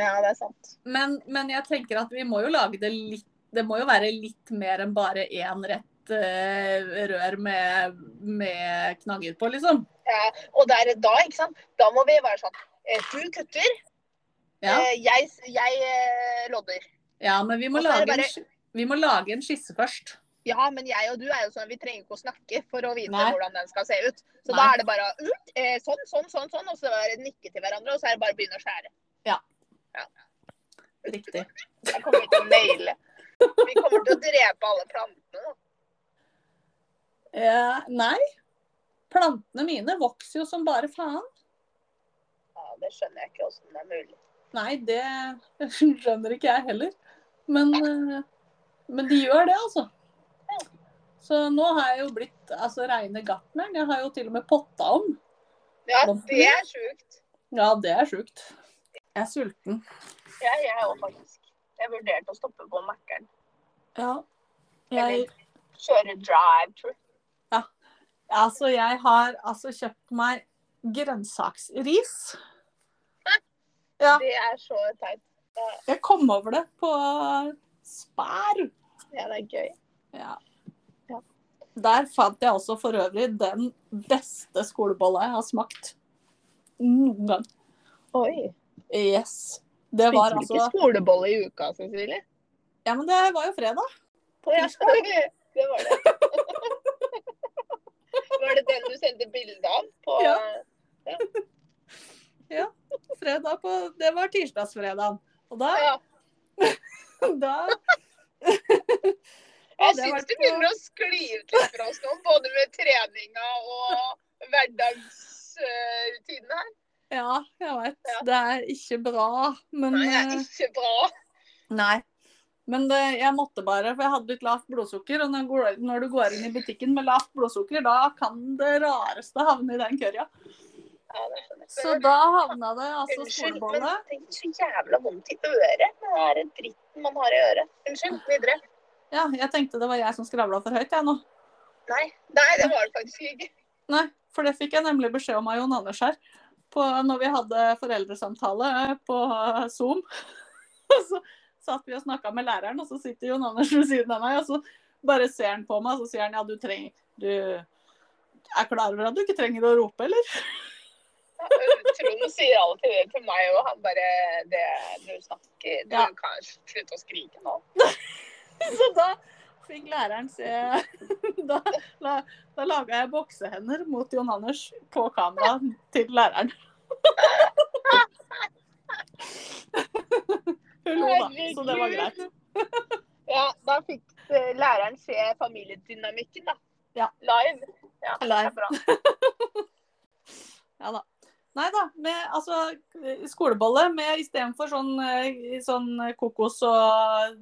Speaker 2: Ja, det er sant.
Speaker 1: Men, men jeg tenker at vi må jo lage det litt Det må jo være litt mer enn bare én rett eh, rør med, med knagger på, liksom.
Speaker 2: Og der, da, ikke sant? da må vi være sånn eh, Du kutter,
Speaker 1: Ja,
Speaker 2: eh, jeg, jeg eh, lodder.
Speaker 1: ja men vi må,
Speaker 2: Og så
Speaker 1: lage
Speaker 2: er det
Speaker 1: en,
Speaker 2: bare-
Speaker 1: sk- vi må lage en skisse først.
Speaker 2: Ja, men jeg og du er jo sånn, vi trenger ikke å snakke for å vite
Speaker 1: Nei.
Speaker 2: hvordan den skal se ut. Så
Speaker 1: Nei.
Speaker 2: da er det bare ut, eh, sånn, sånn, sånn, sånn, og så bare nikke til hverandre, og så er det bare å begynne å skjære.
Speaker 1: Riktig.
Speaker 2: Da kommer vi til å naile. Vi kommer til å drepe alle plantene.
Speaker 1: Eh, nei. Plantene mine vokser jo som bare faen.
Speaker 2: Ja, det skjønner jeg ikke hvordan det er mulig.
Speaker 1: Nei, det skjønner ikke jeg heller. Men, eh, men de gjør det, altså. Så nå har jeg jo blitt altså, reine gartneren. Jeg har jo til og med potta om.
Speaker 2: Ja,
Speaker 1: Plantene?
Speaker 2: det er sjukt.
Speaker 1: Ja, det er sjukt. Jeg er sulten.
Speaker 2: Ja, jeg er òg faktisk. Jeg vurderte å stoppe på Mækkern.
Speaker 1: Ja. Jeg,
Speaker 2: Jeg- Kjøre drive-thru.
Speaker 1: altså, jeg har altså kjøpt meg grønnsaksris. Ja.
Speaker 2: Det er så teit.
Speaker 1: Jeg kom over det på Spær.
Speaker 2: Ja, det er gøy.
Speaker 1: Ja.
Speaker 2: Ja.
Speaker 1: Der fant jeg også for øvrig den beste skolebolla jeg har smakt noen gang.
Speaker 2: Oi.
Speaker 1: Yes. Det var
Speaker 2: Spiser du
Speaker 1: altså
Speaker 2: ikke skolebolle i uka, Cecilie?
Speaker 1: Ja, men det var jo fredag.
Speaker 2: Ja, det var det. Var det den du sendte bilde av? På,
Speaker 1: Ja. fredag på, det var tirsdagsfredagen. Og da,
Speaker 2: Ja.
Speaker 1: da
Speaker 2: Jeg
Speaker 1: det var
Speaker 2: syns det
Speaker 1: på-
Speaker 2: begynner å skli ut litt for oss nå, både med treninga og hverdagsrutinen her.
Speaker 1: Ja, jeg veit.
Speaker 2: Ja.
Speaker 1: Det er ikke bra. Men
Speaker 2: Nei, jeg
Speaker 1: eh,
Speaker 2: er ikke bra.
Speaker 1: Nei. Men det, jeg måtte bare, for jeg hadde litt lavt blodsukker. Og når, går- når du går inn i butikken med lavt blodsukker, da kan det rareste havne i den kørja.
Speaker 2: Ja, det skjønner jeg.
Speaker 1: Så da havna det altså
Speaker 2: Unnskyld, men
Speaker 1: skolebolle.
Speaker 2: tenk så jævla vondt i øret. med Den der dritten man har i øret. Unnskyld, videre.
Speaker 1: Ja, jeg tenkte det var jeg som skravla for høyt, jeg nå.
Speaker 2: Nei, nei, det var det faktisk ikke.
Speaker 1: Nei, for det fikk jeg nemlig beskjed om av Jon Anders her. På, når vi hadde foreldresamtale eh, på eh, Zoom. Og så satt vi og snakka med læreren, og så sitter Jon Anders ved siden av meg, og så bare ser han på meg, og så sier han ja, du trenger Du er klar over at du ikke trenger å rope, eller?
Speaker 2: Trond sier alltid det til meg, og han bare det, Du snakker Du
Speaker 1: Ja.
Speaker 2: kan slutte å skrike nå.
Speaker 1: Så da fikk læreren se Da, da, da laga jeg boksehender mot Jon Anders på kamera til læreren. Hun lo, da. Så det var greit.
Speaker 2: Ja, da fikk eh, læreren se familiedynamikken, da.
Speaker 1: Ja.
Speaker 2: Live. Ja, det
Speaker 1: Live.
Speaker 2: er bra.
Speaker 1: Ja da. Nei da. Med altså skolebolle med istedenfor sånn, eh, sånn kokos og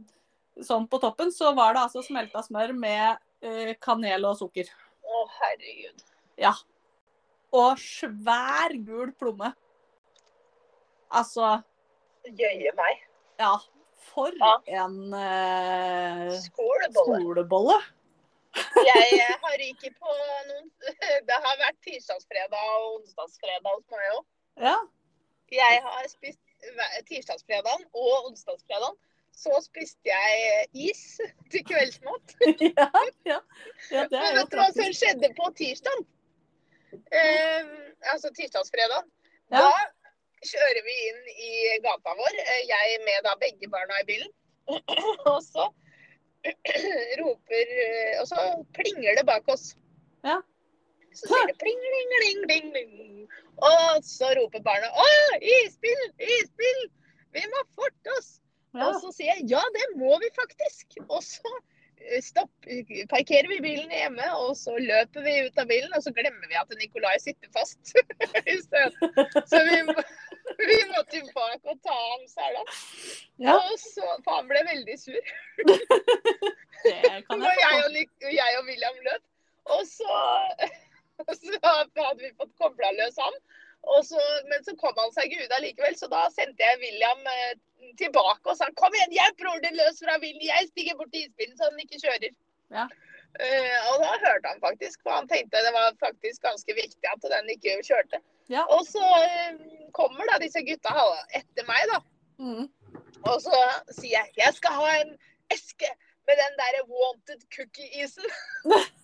Speaker 1: sånn på toppen, så var det altså smelta smør med eh, kanel og sukker.
Speaker 2: Å, herregud.
Speaker 1: Ja. Og svær gul plomme. Altså
Speaker 2: Jøye meg.
Speaker 1: Ja, for
Speaker 2: Ja.
Speaker 1: en eh,
Speaker 2: Skålebolle.
Speaker 1: skolebolle.
Speaker 2: Jeg eh, har ikke på noen Det har vært tirsdagsfredag og onsdagsfredag hos meg òg.
Speaker 1: Ja.
Speaker 2: Jeg har spist hver- tirsdagsfredagen og onsdagsfredagen. Så spiste jeg eh, is til kveldsmat.
Speaker 1: ja, ja. ja, det
Speaker 2: Men
Speaker 1: er jo
Speaker 2: vet du hva som
Speaker 1: praktisk.
Speaker 2: skjedde på tirsdag? Eh, altså tirsdagsfredagen.
Speaker 1: Ja.
Speaker 2: Da kjører vi inn i gata vår, eh, jeg med da begge barna i bilen. og så roper eh, Og så plinger det bak oss.
Speaker 1: Ja.
Speaker 2: Så sier det pling, pling, pling, pling, pling. Og så roper barna Å, isbil! Isbil! Vi må forte oss!
Speaker 1: Ja.
Speaker 2: Og så sier jeg ja, det må vi faktisk. Og så stopp, eh, parkerer vi bilen hjemme, og så løper vi ut av bilen, og så glemmer vi at Nikolai sitter fast. i stedet. så vi, må- vi måtte jo bak og ta ham sela.
Speaker 1: Ja.
Speaker 2: Og så, for han ble veldig sur.
Speaker 1: Det kan
Speaker 2: Og
Speaker 1: jeg
Speaker 2: jeg
Speaker 1: forstå.
Speaker 2: og, Nic- og jeg og William løp. Og så, og så hadde vi fått kobla løs han. Og så, men så kom han seg ikke ut allikevel, så da sendte jeg William eh, tilbake og sa kom igjen, hjelp broren din løs fra bilen, jeg stiger bort til isbilen så han ikke kjører.
Speaker 1: Ja.
Speaker 2: Eh, og da hørte han faktisk, for han tenkte det var faktisk ganske viktig at den ikke kjørte.
Speaker 1: Ja.
Speaker 2: Og så eh, kommer da disse gutta ha- etter meg, da.
Speaker 1: Mm.
Speaker 2: Og så sier jeg jeg skal ha en eske med den der wanted cookie-isen. Og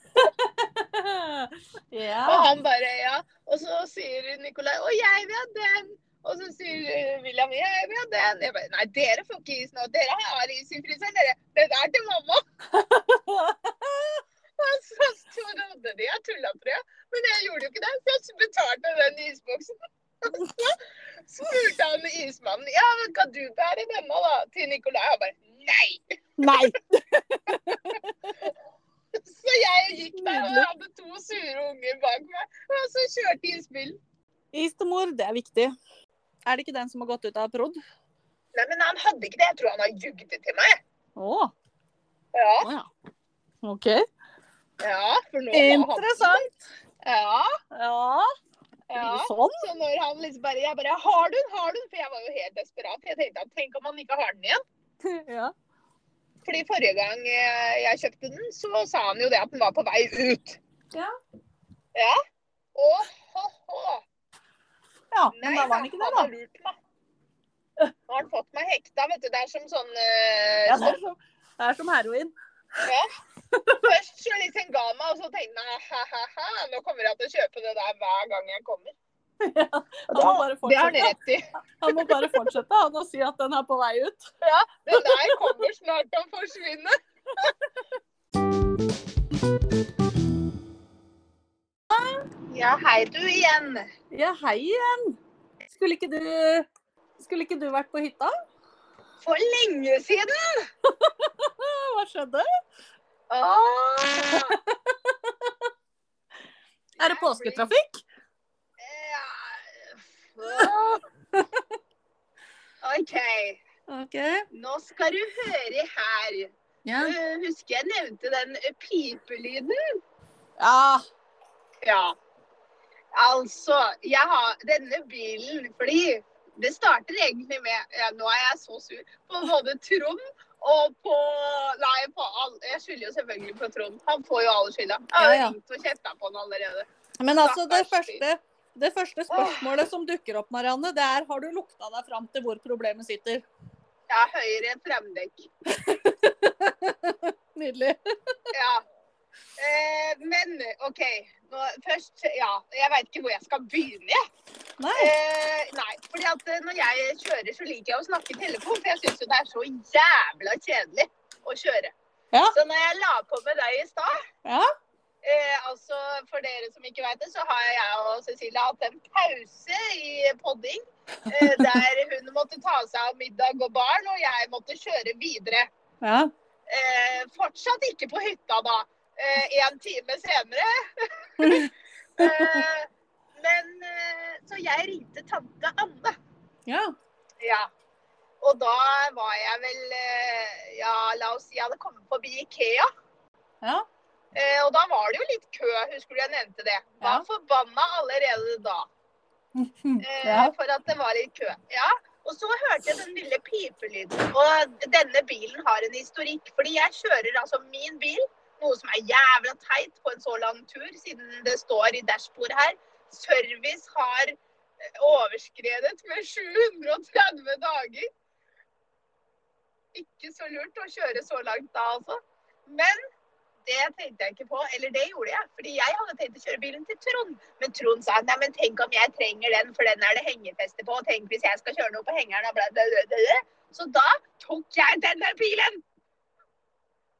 Speaker 1: Ja.
Speaker 2: han bare ja. Og så sier Nikolai å jeg vil ha den. Og så sier eh, William jeg vil ha den. Jeg bare nei, dere får ikke is nå. Dere har is i fryseren, dere. Det er til mamma. Og så trodde de jeg tulla, tror jeg. Men jeg gjorde jo ikke det. Så jeg betalte den isboksen. Og så spurte han ismannen ja, men kan du bære denne da, til Nikolai. Og han bare nei.
Speaker 1: Nei.
Speaker 2: Så jeg gikk der og hadde to sure unger bak meg. Og så kjørte isbilen.
Speaker 1: Istemor, det er viktig. Er det ikke den som har gått ut av prod?
Speaker 2: Nei, men han hadde ikke det. Jeg tror han har jugd til meg.
Speaker 1: Å,
Speaker 2: Ja,
Speaker 1: å ja. OK.
Speaker 2: ja for nå var han-
Speaker 1: Interessant.
Speaker 2: Ja,
Speaker 1: Ja.
Speaker 2: ja.
Speaker 1: blir det Sånn.
Speaker 2: Så når han liksom bare Jeg bare Har du den? Har du den? For jeg var jo helt desperat. Jeg tenkte at tenk om han ikke har den igjen.
Speaker 1: Ja.
Speaker 2: Fordi forrige gang eh, jeg kjøpte den, så sa han jo det at den var på vei ut.
Speaker 1: Ja.
Speaker 2: Ja. Åh, hå, hå.
Speaker 1: ja. Men da var den ikke det, da.
Speaker 2: han har lurt meg. Nå har han fått meg hekta, vet du. Det er som sånn eh,
Speaker 1: Ja, det, er som, det er som heroin.
Speaker 2: Først så liksom ga han meg, og så tenkte jeg ha-ha-ha, nå kommer jeg til å kjøpe det der hver gang jeg kommer.
Speaker 1: Han må bare
Speaker 2: Det har han
Speaker 1: fortsette,
Speaker 2: rett i.
Speaker 1: han må bare fortsette han, og si at den er på vei ut.
Speaker 2: Den der kommer snart til å forsvinne. Ja, hei du igjen.
Speaker 1: Ja, hei igjen. Skulle ikke du, skulle ikke du vært på hytta?
Speaker 2: For lenge siden.
Speaker 1: Hva skjedde?
Speaker 2: Åh.
Speaker 1: Er det påsketrafikk?
Speaker 2: Ja. Åh. OK,
Speaker 1: OK.
Speaker 2: nå skal du høre her.
Speaker 1: Ja.
Speaker 2: Eh, Husker jeg nevnte den eh, pipelyden?
Speaker 1: ja.
Speaker 2: Ja. Altså, jeg har denne bilen fordi det starter egentlig med ja, Nå er jeg så sur på både Trond og på Nei, på all, jeg skylder jo selvfølgelig på Trond. Han får jo all skylda. Jeg har
Speaker 1: Ja, ja.
Speaker 2: ringt og kjefta på han allerede.
Speaker 1: Men altså, det
Speaker 2: Stakkars fyr.
Speaker 1: første, det første spørsmålet som dukker opp, Marianne, det er har du lukta deg fram til hvor problemet sitter?
Speaker 2: Jeg har høyre fremdekk.
Speaker 1: Nydelig.
Speaker 2: Ja. Eh, men OK. Nå, først Ja, jeg veit ikke hvor jeg skal begynne. jeg.
Speaker 1: Nei.
Speaker 2: Eh, nei, fordi at eh, når jeg kjører, så liker jeg å snakke i telefon, for jeg syns jo det er så jævla kjedelig å kjøre.
Speaker 1: Ja.
Speaker 2: Så når jeg la på med deg i stad
Speaker 1: Ja.
Speaker 2: eh, altså For dere som ikke vet det, så har jeg og Cecilie hatt en pause i podding. Eh, der hun måtte ta seg av middag og barn, og jeg måtte kjøre videre.
Speaker 1: Ja.
Speaker 2: Eh, fortsatt ikke på hytta da, eh, en time senere. eh, men eh, Så jeg ringte tante Anne.
Speaker 1: Ja.
Speaker 2: Ja. Og da var jeg vel eh, Ja, la oss si jeg hadde kommet forbi Ikea.
Speaker 1: Ja.
Speaker 2: Eh, og da var det jo litt kø, husker du jeg nevnte det. Var
Speaker 1: Ja.
Speaker 2: forbanna allerede da. Eh,
Speaker 1: ja.
Speaker 2: For at det var litt kø. Ja. Og så hørte jeg den lille pipelyden. Og denne bilen har en historikk. Fordi jeg kjører altså min bil, noe som er jævla teit på en så lang tur, siden det står i dashbordet her. Service har eh, overskredet med 730 dager. Ikke så lurt å kjøre så langt da, altså. Men det tenkte jeg ikke på. Eller det gjorde jeg. Fordi jeg hadde tenkt å kjøre bilen til Trond. Men Trond sa nei, men tenk om jeg trenger den, for den er det hengefeste på. Og tenk hvis jeg skal kjøre noe på hengeren og bla, bla, bla, bla, bla. Så da tok jeg denne bilen!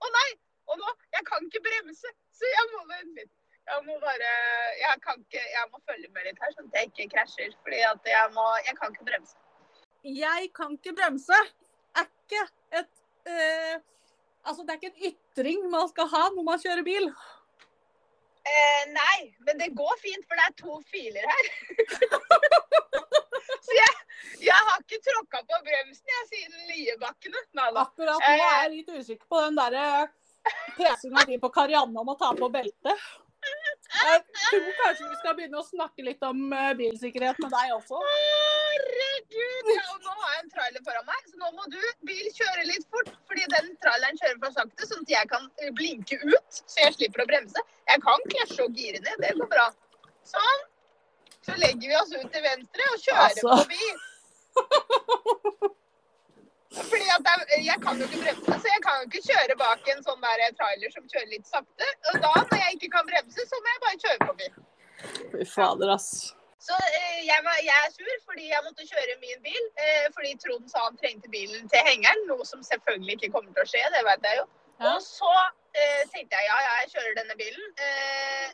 Speaker 2: Å nei! Og nå, jeg kan ikke bremse, så jeg må vente litt. Jeg må bare Jeg kan ikke Jeg må følge med litt her, sånn at jeg ikke krasjer. Fordi at jeg må Jeg kan ikke bremse.
Speaker 1: Jeg kan ikke bremse. Er ikke et eh, Altså, det er ikke en ytring man skal ha når man kjører bil.
Speaker 2: Eh, nei, men det går fint, for det er to filer her. så jeg, jeg har ikke tråkka på bremsen jeg, siden Liebakkene. Nei da.
Speaker 1: Akkurat nå er jeg litt usikker på den derre presinga di på Karianne om å ta på beltet. Jeg tror kanskje vi skal begynne å snakke litt om eh, bilsikkerhet med deg også.
Speaker 2: Herregud! Ja, og nå har jeg en trailer foran meg, så nå må du bil kjøre litt fort. Fordi den traileren kjører for sakte, sånn at jeg kan eh, blinke ut. Så jeg slipper å bremse. Jeg kan klasje og gire ned, det går bra. Sånn. Så legger vi oss ut til venstre og kjører
Speaker 1: Altså.
Speaker 2: forbi. Fordi at jeg, jeg kan jo ikke bremse, så jeg kan jo ikke kjøre bak en sånn der trailer som kjører litt sakte. Og da, når jeg ikke kan bremse, så må jeg bare kjøre forbi.
Speaker 1: Fy fader, ass.
Speaker 2: Så eh, jeg, var, jeg er sur fordi jeg måtte kjøre min bil. Eh, fordi Trond sa han trengte bilen til hengeren, noe som selvfølgelig ikke kommer til å skje. det vet jeg jo.
Speaker 1: Ja.
Speaker 2: Og så eh, tenkte jeg ja, ja, jeg kjører denne bilen. Eh,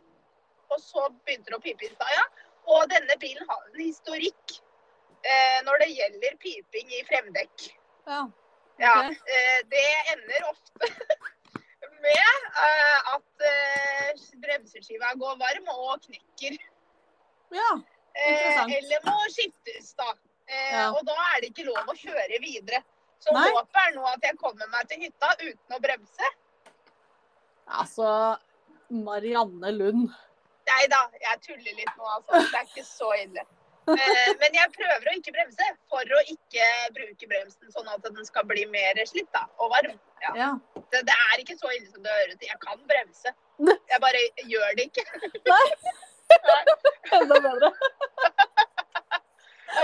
Speaker 2: og så begynte det å pipe i stad, ja. Og denne bilen har en historikk eh, når det gjelder piping i fremdekk.
Speaker 1: Ja.
Speaker 2: Ja,
Speaker 1: Ok.
Speaker 2: eh, det ender ofte med eh, at eh, bremseskiva går varm og knekker.
Speaker 1: ja.
Speaker 2: Eh,
Speaker 1: Interessant.
Speaker 2: eller må skiftes, da. Eh,
Speaker 1: Ja.
Speaker 2: Og da er det ikke lov å kjøre videre. Så
Speaker 1: Nei.
Speaker 2: håpet er nå at jeg kommer meg til hytta uten å bremse.
Speaker 1: Altså, Marianne Lund.
Speaker 2: Nei da, jeg tuller litt nå, altså. Det er ikke så ille. Eh, men jeg prøver å ikke bremse for å ikke bruke bremsen sånn at den skal bli mer slitt da, og varm.
Speaker 1: Ja.
Speaker 2: Det, det er ikke så ille som det høres ut. Jeg kan bremse. Jeg bare gjør det ikke.
Speaker 1: Enda bedre.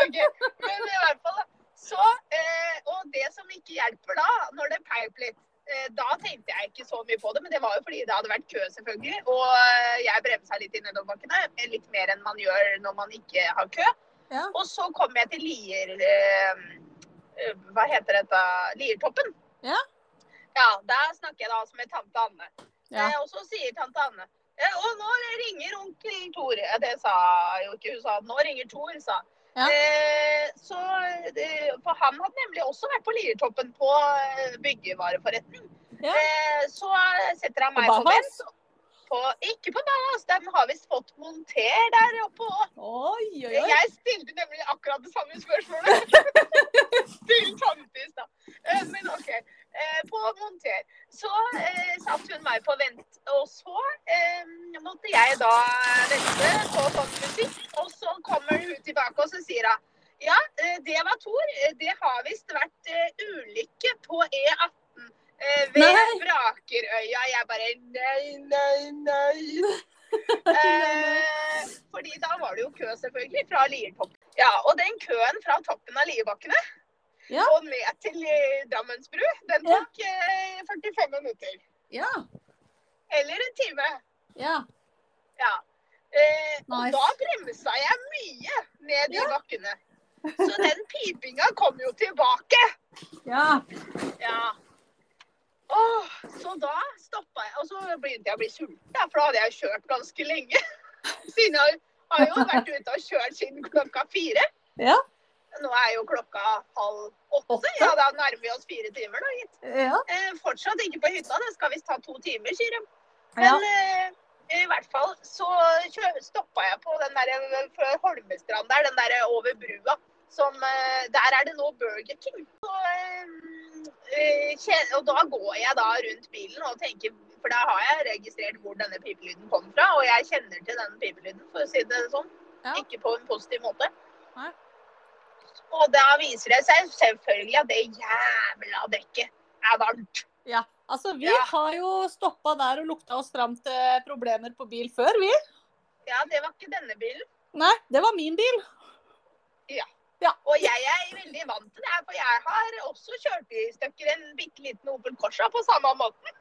Speaker 2: Ok, Men i hvert fall, da. Så, eh, og det som ikke hjelper da, når det peip litt, eh, da tenkte jeg ikke så mye på det. Men det var jo fordi det hadde vært kø, selvfølgelig. Og eh, jeg bremsa litt i nedoverbakkene. eh, Litt mer enn man gjør når man ikke har kø.
Speaker 1: Ja.
Speaker 2: Og så kom jeg til Lier eh, eh, Hva heter dette? Liertoppen.
Speaker 1: Ja.
Speaker 2: Ja, der snakker jeg da altså med tante Anne.
Speaker 1: Ja.
Speaker 2: Eh, og så sier tante Anne eh, Og nå ringer onkel Tor. Ja, det sa jo ikke hun. sa Nå ringer Tor, sa hun.
Speaker 1: Ja.
Speaker 2: Eh, så, eh, for han hadde nemlig også vært på Liertoppen på eh, byggevareforretning.
Speaker 1: Ja.
Speaker 2: Eh, så setter han
Speaker 1: På
Speaker 2: meg på
Speaker 1: Bauhaus?
Speaker 2: vent. På, ikke på Bahas, den har visst fått monter der oppe òg.
Speaker 1: Oi, oi, oi.
Speaker 2: Jeg stilte nemlig akkurat det samme spørsmålet. Til tante i stad. Eh, Men OK. Eh, På monter. Så eh, satt hun meg på vent. Og så eh, måtte jeg da vente på sånn musikk. Og så kommer hun tilbake og så sier hun ja, eh, det var Tor. Eh, Det har visst vært eh, ulykke på E18 eh, ved
Speaker 1: Nei.
Speaker 2: Vrakerøya. Jeg bare nei, nei, nei. Eh, fordi da var det jo kø, selvfølgelig, fra Liertoppen. Ja, og den køen fra toppen av Lierbakkene
Speaker 1: Ja.
Speaker 2: og ned til eh, Drammensbru, den
Speaker 1: Ja.
Speaker 2: tok eh, 45 minutter.
Speaker 1: Ja.
Speaker 2: Eller en time.
Speaker 1: Ja.
Speaker 2: Ja. Eh, og
Speaker 1: Nice.
Speaker 2: da bremsa jeg mye ned i bakkene. Så den pipinga kom jo tilbake.
Speaker 1: ja.
Speaker 2: Ja. Åh, så da stoppa jeg, og så begynte jeg å bli sulten, da, for da hadde jeg kjørt ganske lenge. Siden jeg har jo vært ute og kjørt siden klokka fire.
Speaker 1: Ja.
Speaker 2: Nå er jo klokka halv åtte.
Speaker 1: Åtte?
Speaker 2: Ja, da nærmer vi oss fire timer, da, gitt.
Speaker 1: Ja.
Speaker 2: Eh, fortsatt ikke på hytta, det skal visst ta to timer, sier de.
Speaker 1: ja.
Speaker 2: Men eh, i hvert fall så stoppa jeg på den der eh, Holmestrand der, den der eh, over brua. Som, eh, der er det nå Burger King. Så, eh, eh, kje- og da går jeg da rundt bilen og tenker For da har jeg registrert hvor denne pipelyden kom fra, og jeg kjenner til den pipelyden, for å si det sånn.
Speaker 1: Ja.
Speaker 2: Ikke på en positiv måte.
Speaker 1: Nei.
Speaker 2: Og da viser det seg selvfølgelig at det jævla dekket er varmt.
Speaker 1: Altså, vi
Speaker 2: Ja.
Speaker 1: har jo stoppa der og lukta oss fram til problemer på bil før, vi.
Speaker 2: Ja, det var ikke denne bilen.
Speaker 1: Nei, det var min bil.
Speaker 2: Og jeg er veldig vant til det, her, for jeg har også kjørt i stykker en bitte liten Opel Corsa på samme måten.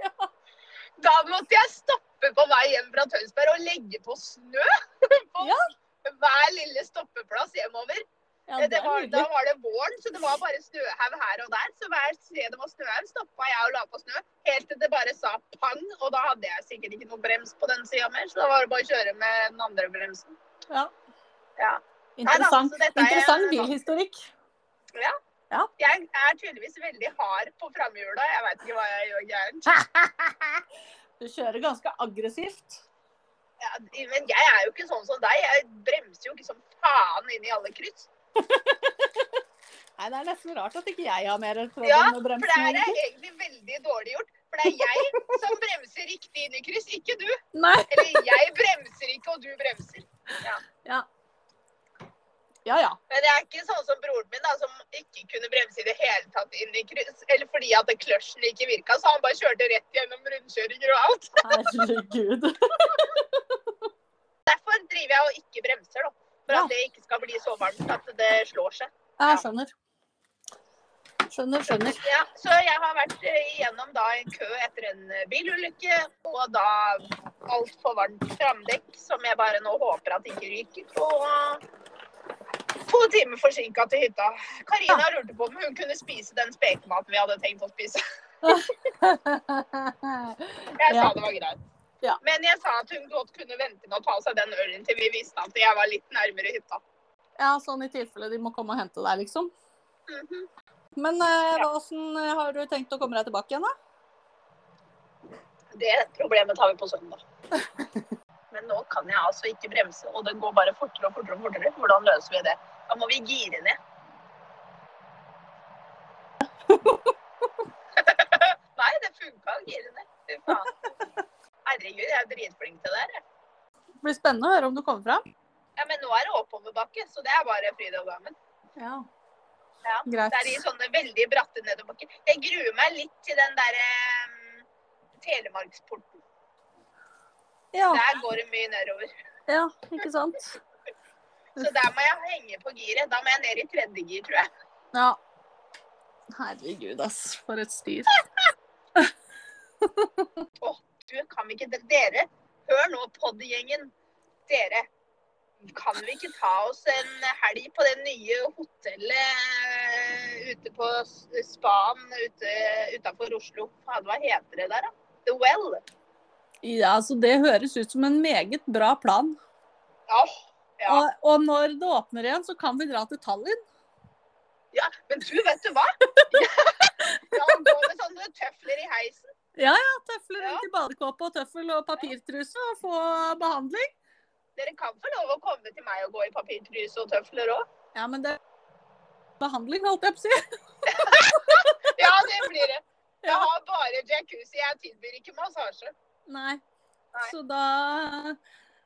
Speaker 1: ja.
Speaker 2: Da måtte jeg stoppe på vei hjem fra Tønsberg og legge på snø på
Speaker 1: Ja.
Speaker 2: hver lille stoppeplass hjemover.
Speaker 1: ja,
Speaker 2: det
Speaker 1: det er
Speaker 2: var, da
Speaker 1: nydelig.
Speaker 2: var det våren, så det var bare snøhaug her og der. Så hver sted det var snøhaug, stoppa jeg og la på snø. Helt til det bare sa pang, og da hadde jeg sikkert ikke noe brems på den sida mer, så da var det bare å kjøre med den andre bremsen.
Speaker 1: Ja.
Speaker 2: Ja.
Speaker 1: Interessant,
Speaker 2: Nei da, så dette er- sånn-
Speaker 1: Interessant bilhistorikk. Ja.
Speaker 2: Jeg er tydeligvis veldig hard på framhjula. Jeg veit ikke hva jeg gjør gærent.
Speaker 1: Du kjører ganske aggressivt.
Speaker 2: Ja, Men jeg er jo ikke sånn som deg. Jeg bremser jo ikke som faen inn i alle kryss.
Speaker 1: Nei, det er nesten rart at ikke jeg har mer trøbbel
Speaker 2: Ja,
Speaker 1: med
Speaker 2: For det
Speaker 1: bremsen.
Speaker 2: her er
Speaker 1: egentlig.
Speaker 2: egentlig veldig dårlig gjort. For det er jeg som bremser riktig inn i kryss, ikke du.
Speaker 1: Nei.
Speaker 2: Eller jeg bremser ikke, og du bremser.
Speaker 1: Ja, ja.
Speaker 2: Men jeg er ikke sånn som broren min, da, som ikke kunne bremse i det hele tatt inn i kryss. Eller fordi at kløtsjen ikke virka, så han bare kjørte rett gjennom rundkjøringer og alt.
Speaker 1: Herregud.
Speaker 2: Derfor driver jeg og ikke bremser, da. For
Speaker 1: Ja.
Speaker 2: at det ikke skal bli så varmt at det slår seg.
Speaker 1: Jeg skjønner. Skjønner, skjønner.
Speaker 2: Ja, så jeg har vært eh, igjennom da en kø etter en eh, bilulykke, og da altfor varmt framdekk, som jeg bare nå håper at ikke ryker. Og to timer forsinka til hytta. Karina lurte på om hun kunne spise den spekematen vi hadde tenkt å spise. Jeg
Speaker 1: Ja.
Speaker 2: sa det var greit.
Speaker 1: Ja.
Speaker 2: Men jeg sa at hun godt kunne vente med å ta seg den ølen til vi visste at jeg var litt nærmere hytta.
Speaker 1: Ja, sånn i tilfelle de må komme og hente deg, liksom.
Speaker 2: Mhm.
Speaker 1: Men eh, hva- åssen eh, har du tenkt å komme deg tilbake igjen, da?
Speaker 2: Det problemet tar vi på søndag. Men nå kan jeg altså ikke bremse, og det går bare fortere og fortere. og fortere. Hvordan løser vi det? Da må vi gire ned. Nei, det funka å gire ned. Fy faen. Herregud, jeg er dritflink til det her. jeg.
Speaker 1: Det blir spennende å høre om du kommer fram.
Speaker 2: Ja, men nå er det oppoverbakke, så det er bare fryd og gammen.
Speaker 1: Ja.
Speaker 2: Ja,
Speaker 1: Greit.
Speaker 2: Det er i sånne veldig bratte nedoverbakker. Jeg gruer meg litt til den derre um, Telemarksporten.
Speaker 1: Ja,
Speaker 2: Der går det mye nedover.
Speaker 1: ja, ikke sant?
Speaker 2: Så der må jeg henge på giret. Da må jeg ned i tredje gir, tror jeg.
Speaker 1: Ja. Herregud, ass. For et styr.
Speaker 2: Du, kan vi ikke Dere, hør nå, poddgjengen. Dere, kan vi ikke ta oss en helg på det nye hotellet ute på s- spaen ute, utafor Oslo? Faen, hva heter det der, da? The Well?
Speaker 1: Ja, altså Det høres ut som en meget bra plan.
Speaker 2: Ja, ja.
Speaker 1: Og, og når det åpner igjen, så kan vi dra til Tallinn.
Speaker 2: ja. Men du, vet du hva? Ja, han går med sånne tøfler i heisen.
Speaker 1: Ja, Tøfler
Speaker 2: Ja.
Speaker 1: rundt i badekåpe og tøffel og papirtruse og få behandling.
Speaker 2: Dere kan få lov å komme til meg og gå i papirtruse og tøfler òg.
Speaker 1: Ja, men det Behandling, holdt jeg på å si.
Speaker 2: Ja, det blir det. Jeg
Speaker 1: Ja.
Speaker 2: har bare jacuzzi. Jeg tilbyr ikke massasje.
Speaker 1: Nei.
Speaker 2: Nei.
Speaker 1: Så da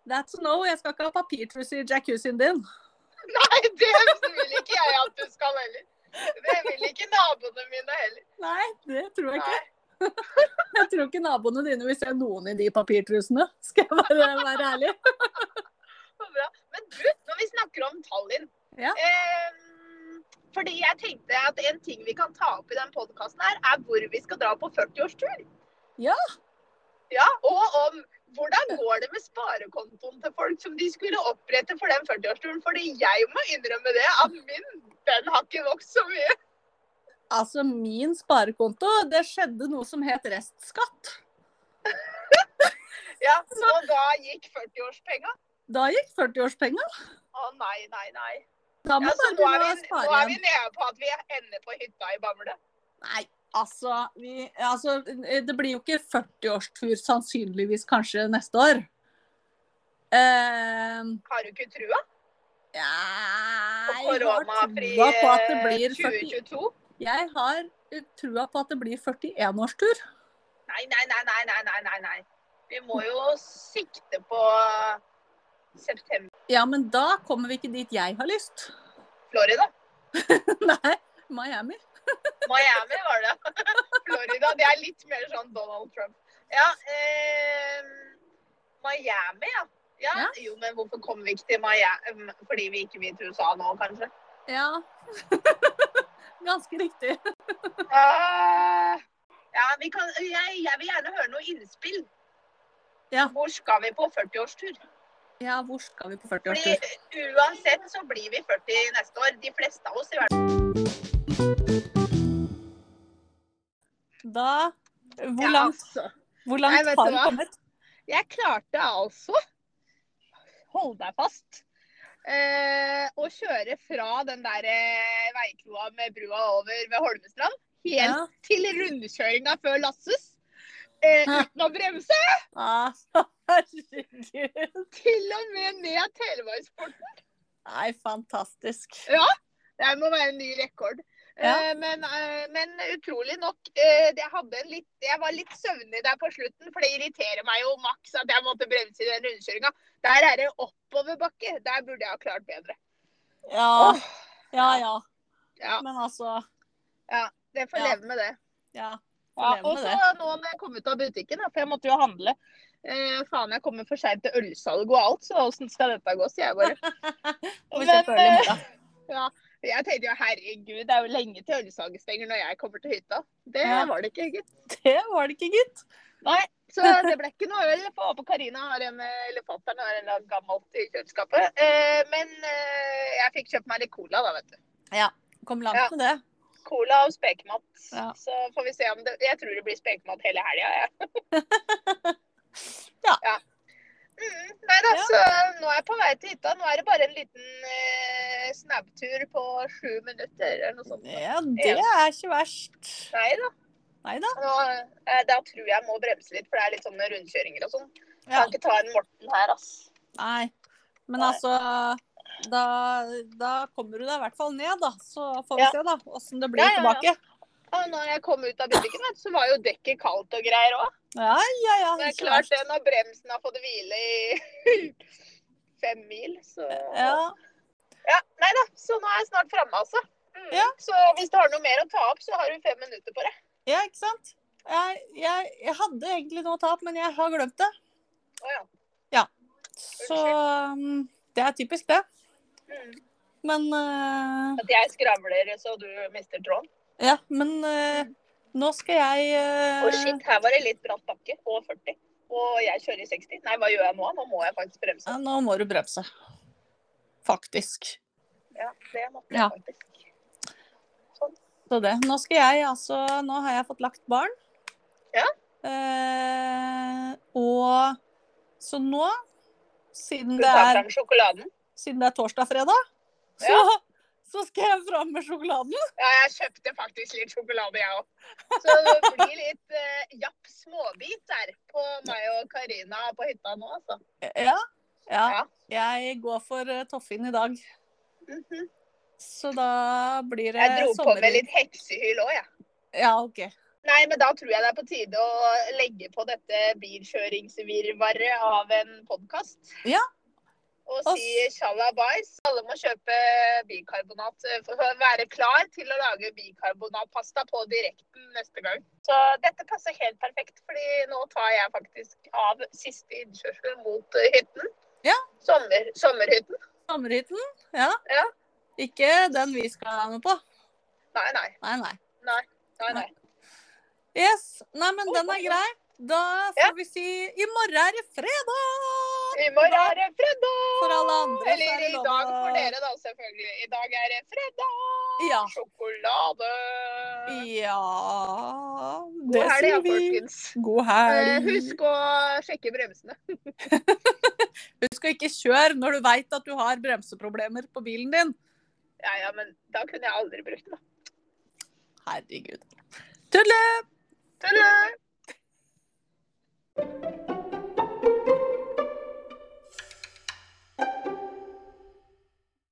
Speaker 1: That's a no. Jeg skal ikke ha papirtruse i jacuzzien din.
Speaker 2: Nei, det vil ikke jeg at du skal heller. Det vil ikke naboene mine heller.
Speaker 1: Nei, det tror jeg ikke. Jeg tror ikke naboene dine vil se noen i de papirtrusene, skal jeg bare være ærlig.
Speaker 2: Så bra. Men du, når vi snakker om Tallinn
Speaker 1: Ja.
Speaker 2: eh, Fordi jeg tenkte at en ting vi kan ta opp i den podkasten her, er hvor vi skal dra på 40-årstur.
Speaker 1: Ja.
Speaker 2: Ja, Og om hvordan går det med sparekontoen til folk som de skulle opprette for den 40-årsturen? Fordi jeg må innrømme det, at min den har ikke vokst så mye.
Speaker 1: Altså, min sparekonto, det skjedde noe som het restskatt.
Speaker 2: Ja, Og da gikk 40-årspenga.
Speaker 1: Da gikk 40-årspenga.
Speaker 2: Å nei, nei, nei.
Speaker 1: Da må
Speaker 2: Ja, så
Speaker 1: man
Speaker 2: nå
Speaker 1: begynne
Speaker 2: er,
Speaker 1: å
Speaker 2: vi, nå
Speaker 1: spare
Speaker 2: er vi
Speaker 1: igjen.
Speaker 2: nede på at vi ender på hytta i Bamble.
Speaker 1: Nei, altså, vi, altså Det blir jo ikke 40-årstur sannsynligvis kanskje neste år. Eh,
Speaker 2: Har du ikke trua?
Speaker 1: ja,
Speaker 2: Og
Speaker 1: jeg har
Speaker 2: koronafri
Speaker 1: trua på at det
Speaker 2: eh,
Speaker 1: blir 40,
Speaker 2: 2022?
Speaker 1: jeg har trua på at det blir 41-årstur.
Speaker 2: Nei, nei, nei, nei, nei, nei, nei, nei. Vi må jo sikte på september.
Speaker 1: Ja, men da kommer vi ikke dit jeg har lyst.
Speaker 2: Florida.
Speaker 1: Nei, Miami.
Speaker 2: Miami var det. Florida, det er litt mer sånn Donald Trump. Ja, eh, Miami, ja. ja.
Speaker 1: Ja.
Speaker 2: Jo, men hvorfor kommer vi ikke til Miami? Mm, Fordi vi ikke vil til USA nå, kanskje?
Speaker 1: Ja. Ganske riktig.
Speaker 2: Ah, ja, vi kan, jeg, jeg vil gjerne høre noe innspill.
Speaker 1: Ja.
Speaker 2: Hvor skal vi på 40-årstur?
Speaker 1: Ja, hvor skal vi på
Speaker 2: Fordi
Speaker 1: 40-årstur?
Speaker 2: Uansett så blir vi 40 neste år. De fleste av oss i hvert fall.
Speaker 1: Da Hvor
Speaker 2: Ja,
Speaker 1: langt,
Speaker 2: altså.
Speaker 1: hvor
Speaker 2: Nei,
Speaker 1: langt
Speaker 2: vet
Speaker 1: har
Speaker 2: du
Speaker 1: vi
Speaker 2: hva?
Speaker 1: kommet?
Speaker 2: Jeg klarte altså Hold deg fast. eh, å kjøre fra den der eh, veikroa med brua over ved Holmestrand helt
Speaker 1: Ja.
Speaker 2: til rundkjøringa før Lasses. Eh, uten å bremse!
Speaker 1: Ah, herregud.
Speaker 2: Til og med ned Telemarksporten.
Speaker 1: Nei, fantastisk.
Speaker 2: Det må være en ny rekord.
Speaker 1: Ja.
Speaker 2: Eh, men, eh, men utrolig nok, eh, det hadde en litt, jeg var litt søvnig der på slutten. For det irriterer meg jo maks at jeg måtte bremse i den rundkjøringa. Der er det oppoverbakke. Der burde jeg ha klart bedre.
Speaker 1: Ja,
Speaker 2: Åh,
Speaker 1: ja, ja.
Speaker 2: Ja.
Speaker 1: Men altså,
Speaker 2: det får
Speaker 1: Ja.
Speaker 2: leve med det.
Speaker 1: ja.
Speaker 2: Ja,
Speaker 1: Leve med
Speaker 2: og så nå når jeg kom ut av butikken, da, for jeg måtte jo handle. Eh, faen, jeg kommer for seint til ølsalg og alt, så åssen skal dette gå, sier jeg bare.
Speaker 1: Får vi se
Speaker 2: Men
Speaker 1: på øl i
Speaker 2: eh,
Speaker 1: morgen.
Speaker 2: jeg tenkte jo herregud, det er jo lenge til ølsalget stenger når jeg kommer til hytta. Det
Speaker 1: Ja.
Speaker 2: var det ikke, gitt.
Speaker 1: Det var det ikke, gitt.
Speaker 2: Så det ble ikke noe øl. For Ape Karina har en, eh, eller fatter'n har en eller annen gammelt i kjøleskapet. Eh, men eh, jeg fikk kjøpt meg litt cola, da, vet du.
Speaker 1: Kom langt
Speaker 2: Ja.
Speaker 1: med det.
Speaker 2: Cola og spekemat.
Speaker 1: Ja.
Speaker 2: Så får vi se om det Jeg tror det blir spekemat hele helga, jeg.
Speaker 1: Ja.
Speaker 2: Mm, nei da,
Speaker 1: Ja.
Speaker 2: så nå er jeg på vei til hytta. Nå er det bare en liten eh, snabbtur på sju minutter eller noe sånt.
Speaker 1: Ja, det er ikke verst.
Speaker 2: Nei da.
Speaker 1: Nei da.
Speaker 2: Nå, eh, da tror jeg må bremse litt, for det er litt sånne rundkjøringer og sånn.
Speaker 1: Ja.
Speaker 2: Kan ikke ta en Morten her, ass.
Speaker 1: Nei. Men
Speaker 2: Nei.
Speaker 1: altså, da, da kommer du deg i hvert fall ned, da. Så får vi
Speaker 2: Ja.
Speaker 1: se da, åssen det blir
Speaker 2: Ja, ja, ja.
Speaker 1: tilbake.
Speaker 2: Og når jeg kom ut av butikken, vet du, så var jo dekket kaldt og greier òg.
Speaker 1: Ja, ja, ja.
Speaker 2: Det er
Speaker 1: ikke
Speaker 2: klart
Speaker 1: verst.
Speaker 2: det, når bremsen har fått hvile i fem mil, så
Speaker 1: Ja.
Speaker 2: Ja, nei da, så nå er jeg snart framme, altså. Mm.
Speaker 1: Ja.
Speaker 2: Så hvis du har noe mer å ta opp, så har du fem minutter på det.
Speaker 1: ja, ikke sant? Jeg, jeg, jeg hadde egentlig noe tap, men jeg har glemt det.
Speaker 2: Å ja.
Speaker 1: Så mm, det er typisk, det.
Speaker 2: Mm.
Speaker 1: Men eh,
Speaker 2: At jeg skravler så du mister tråden.
Speaker 1: Ja, men eh, nå skal jeg eh,
Speaker 2: Å shit, her var det litt bratt bakke. Og 40. Og jeg kjører i 60. Nei, hva gjør jeg nå? Nå må jeg faktisk bremse.
Speaker 1: ja, Nå må du bremse. Faktisk.
Speaker 2: Ja, det måtte jeg
Speaker 1: Ja.
Speaker 2: faktisk.
Speaker 1: Så det. Nå skal jeg altså Nå har jeg fått lagt barn.
Speaker 2: Ja.
Speaker 1: Eh, og så nå, siden
Speaker 2: Skal du
Speaker 1: det
Speaker 2: ta
Speaker 1: er,
Speaker 2: fram sjokoladen?
Speaker 1: siden det er torsdag-fredag, så, så skal jeg fram med sjokoladen.
Speaker 2: Ja, jeg kjøpte faktisk litt sjokolade, jeg òg. Så det blir litt eh, japp småbit der på meg og Karina på hytta nå, altså.
Speaker 1: Ja. Eh, ja. Jeg går for eh, Toffin i dag.
Speaker 2: Mhm.
Speaker 1: Så da blir det
Speaker 2: Jeg dro på med litt heksehyl òg, jeg.
Speaker 1: Ja, OK.
Speaker 2: Nei, men da tror jeg det er på tide å legge på dette bilkjøringsvirvaret av en podkast.
Speaker 1: Ja.
Speaker 2: Og
Speaker 1: Og
Speaker 2: si shalabais. Alle må kjøpe bikarbonat. eh, For å være klar til å lage bikarbonatpasta på direkten neste gang. Så dette passer helt perfekt, fordi nå tar jeg faktisk av siste innkjørsel mot eh, hytten.
Speaker 1: Ja.
Speaker 2: Sommer, sommerhytten.
Speaker 1: Sommerhytten, ja.
Speaker 2: Ja.
Speaker 1: Ikke den vi skal være med på.
Speaker 2: Nei, nei.
Speaker 1: Nei, nei.
Speaker 2: nei, nei.
Speaker 1: Yes. Nei, men
Speaker 2: Oi,
Speaker 1: den er
Speaker 2: oi, oi.
Speaker 1: grei. Da
Speaker 2: Ja.
Speaker 1: får vi si i morgen er det fredag!
Speaker 2: I morgen er det fredag!
Speaker 1: For alle andre så er
Speaker 2: Eller
Speaker 1: det
Speaker 2: i
Speaker 1: lov
Speaker 2: dag
Speaker 1: å-
Speaker 2: for dere, da, selvfølgelig. I dag er det fredag!
Speaker 1: Ja.
Speaker 2: Sjokolade!
Speaker 1: Ja
Speaker 2: God
Speaker 1: Det
Speaker 2: helg, ja,
Speaker 1: sier vi.
Speaker 2: folkens.
Speaker 1: God
Speaker 2: Eh,
Speaker 1: helg.
Speaker 2: Husk å sjekke bremsene.
Speaker 1: Husk å ikke kjøre når du veit at du har bremseproblemer på bilen din.
Speaker 2: Ja, ja, men da kunne jeg aldri brukt den, da.
Speaker 1: Herregud. Tudelu!
Speaker 2: Tudelu!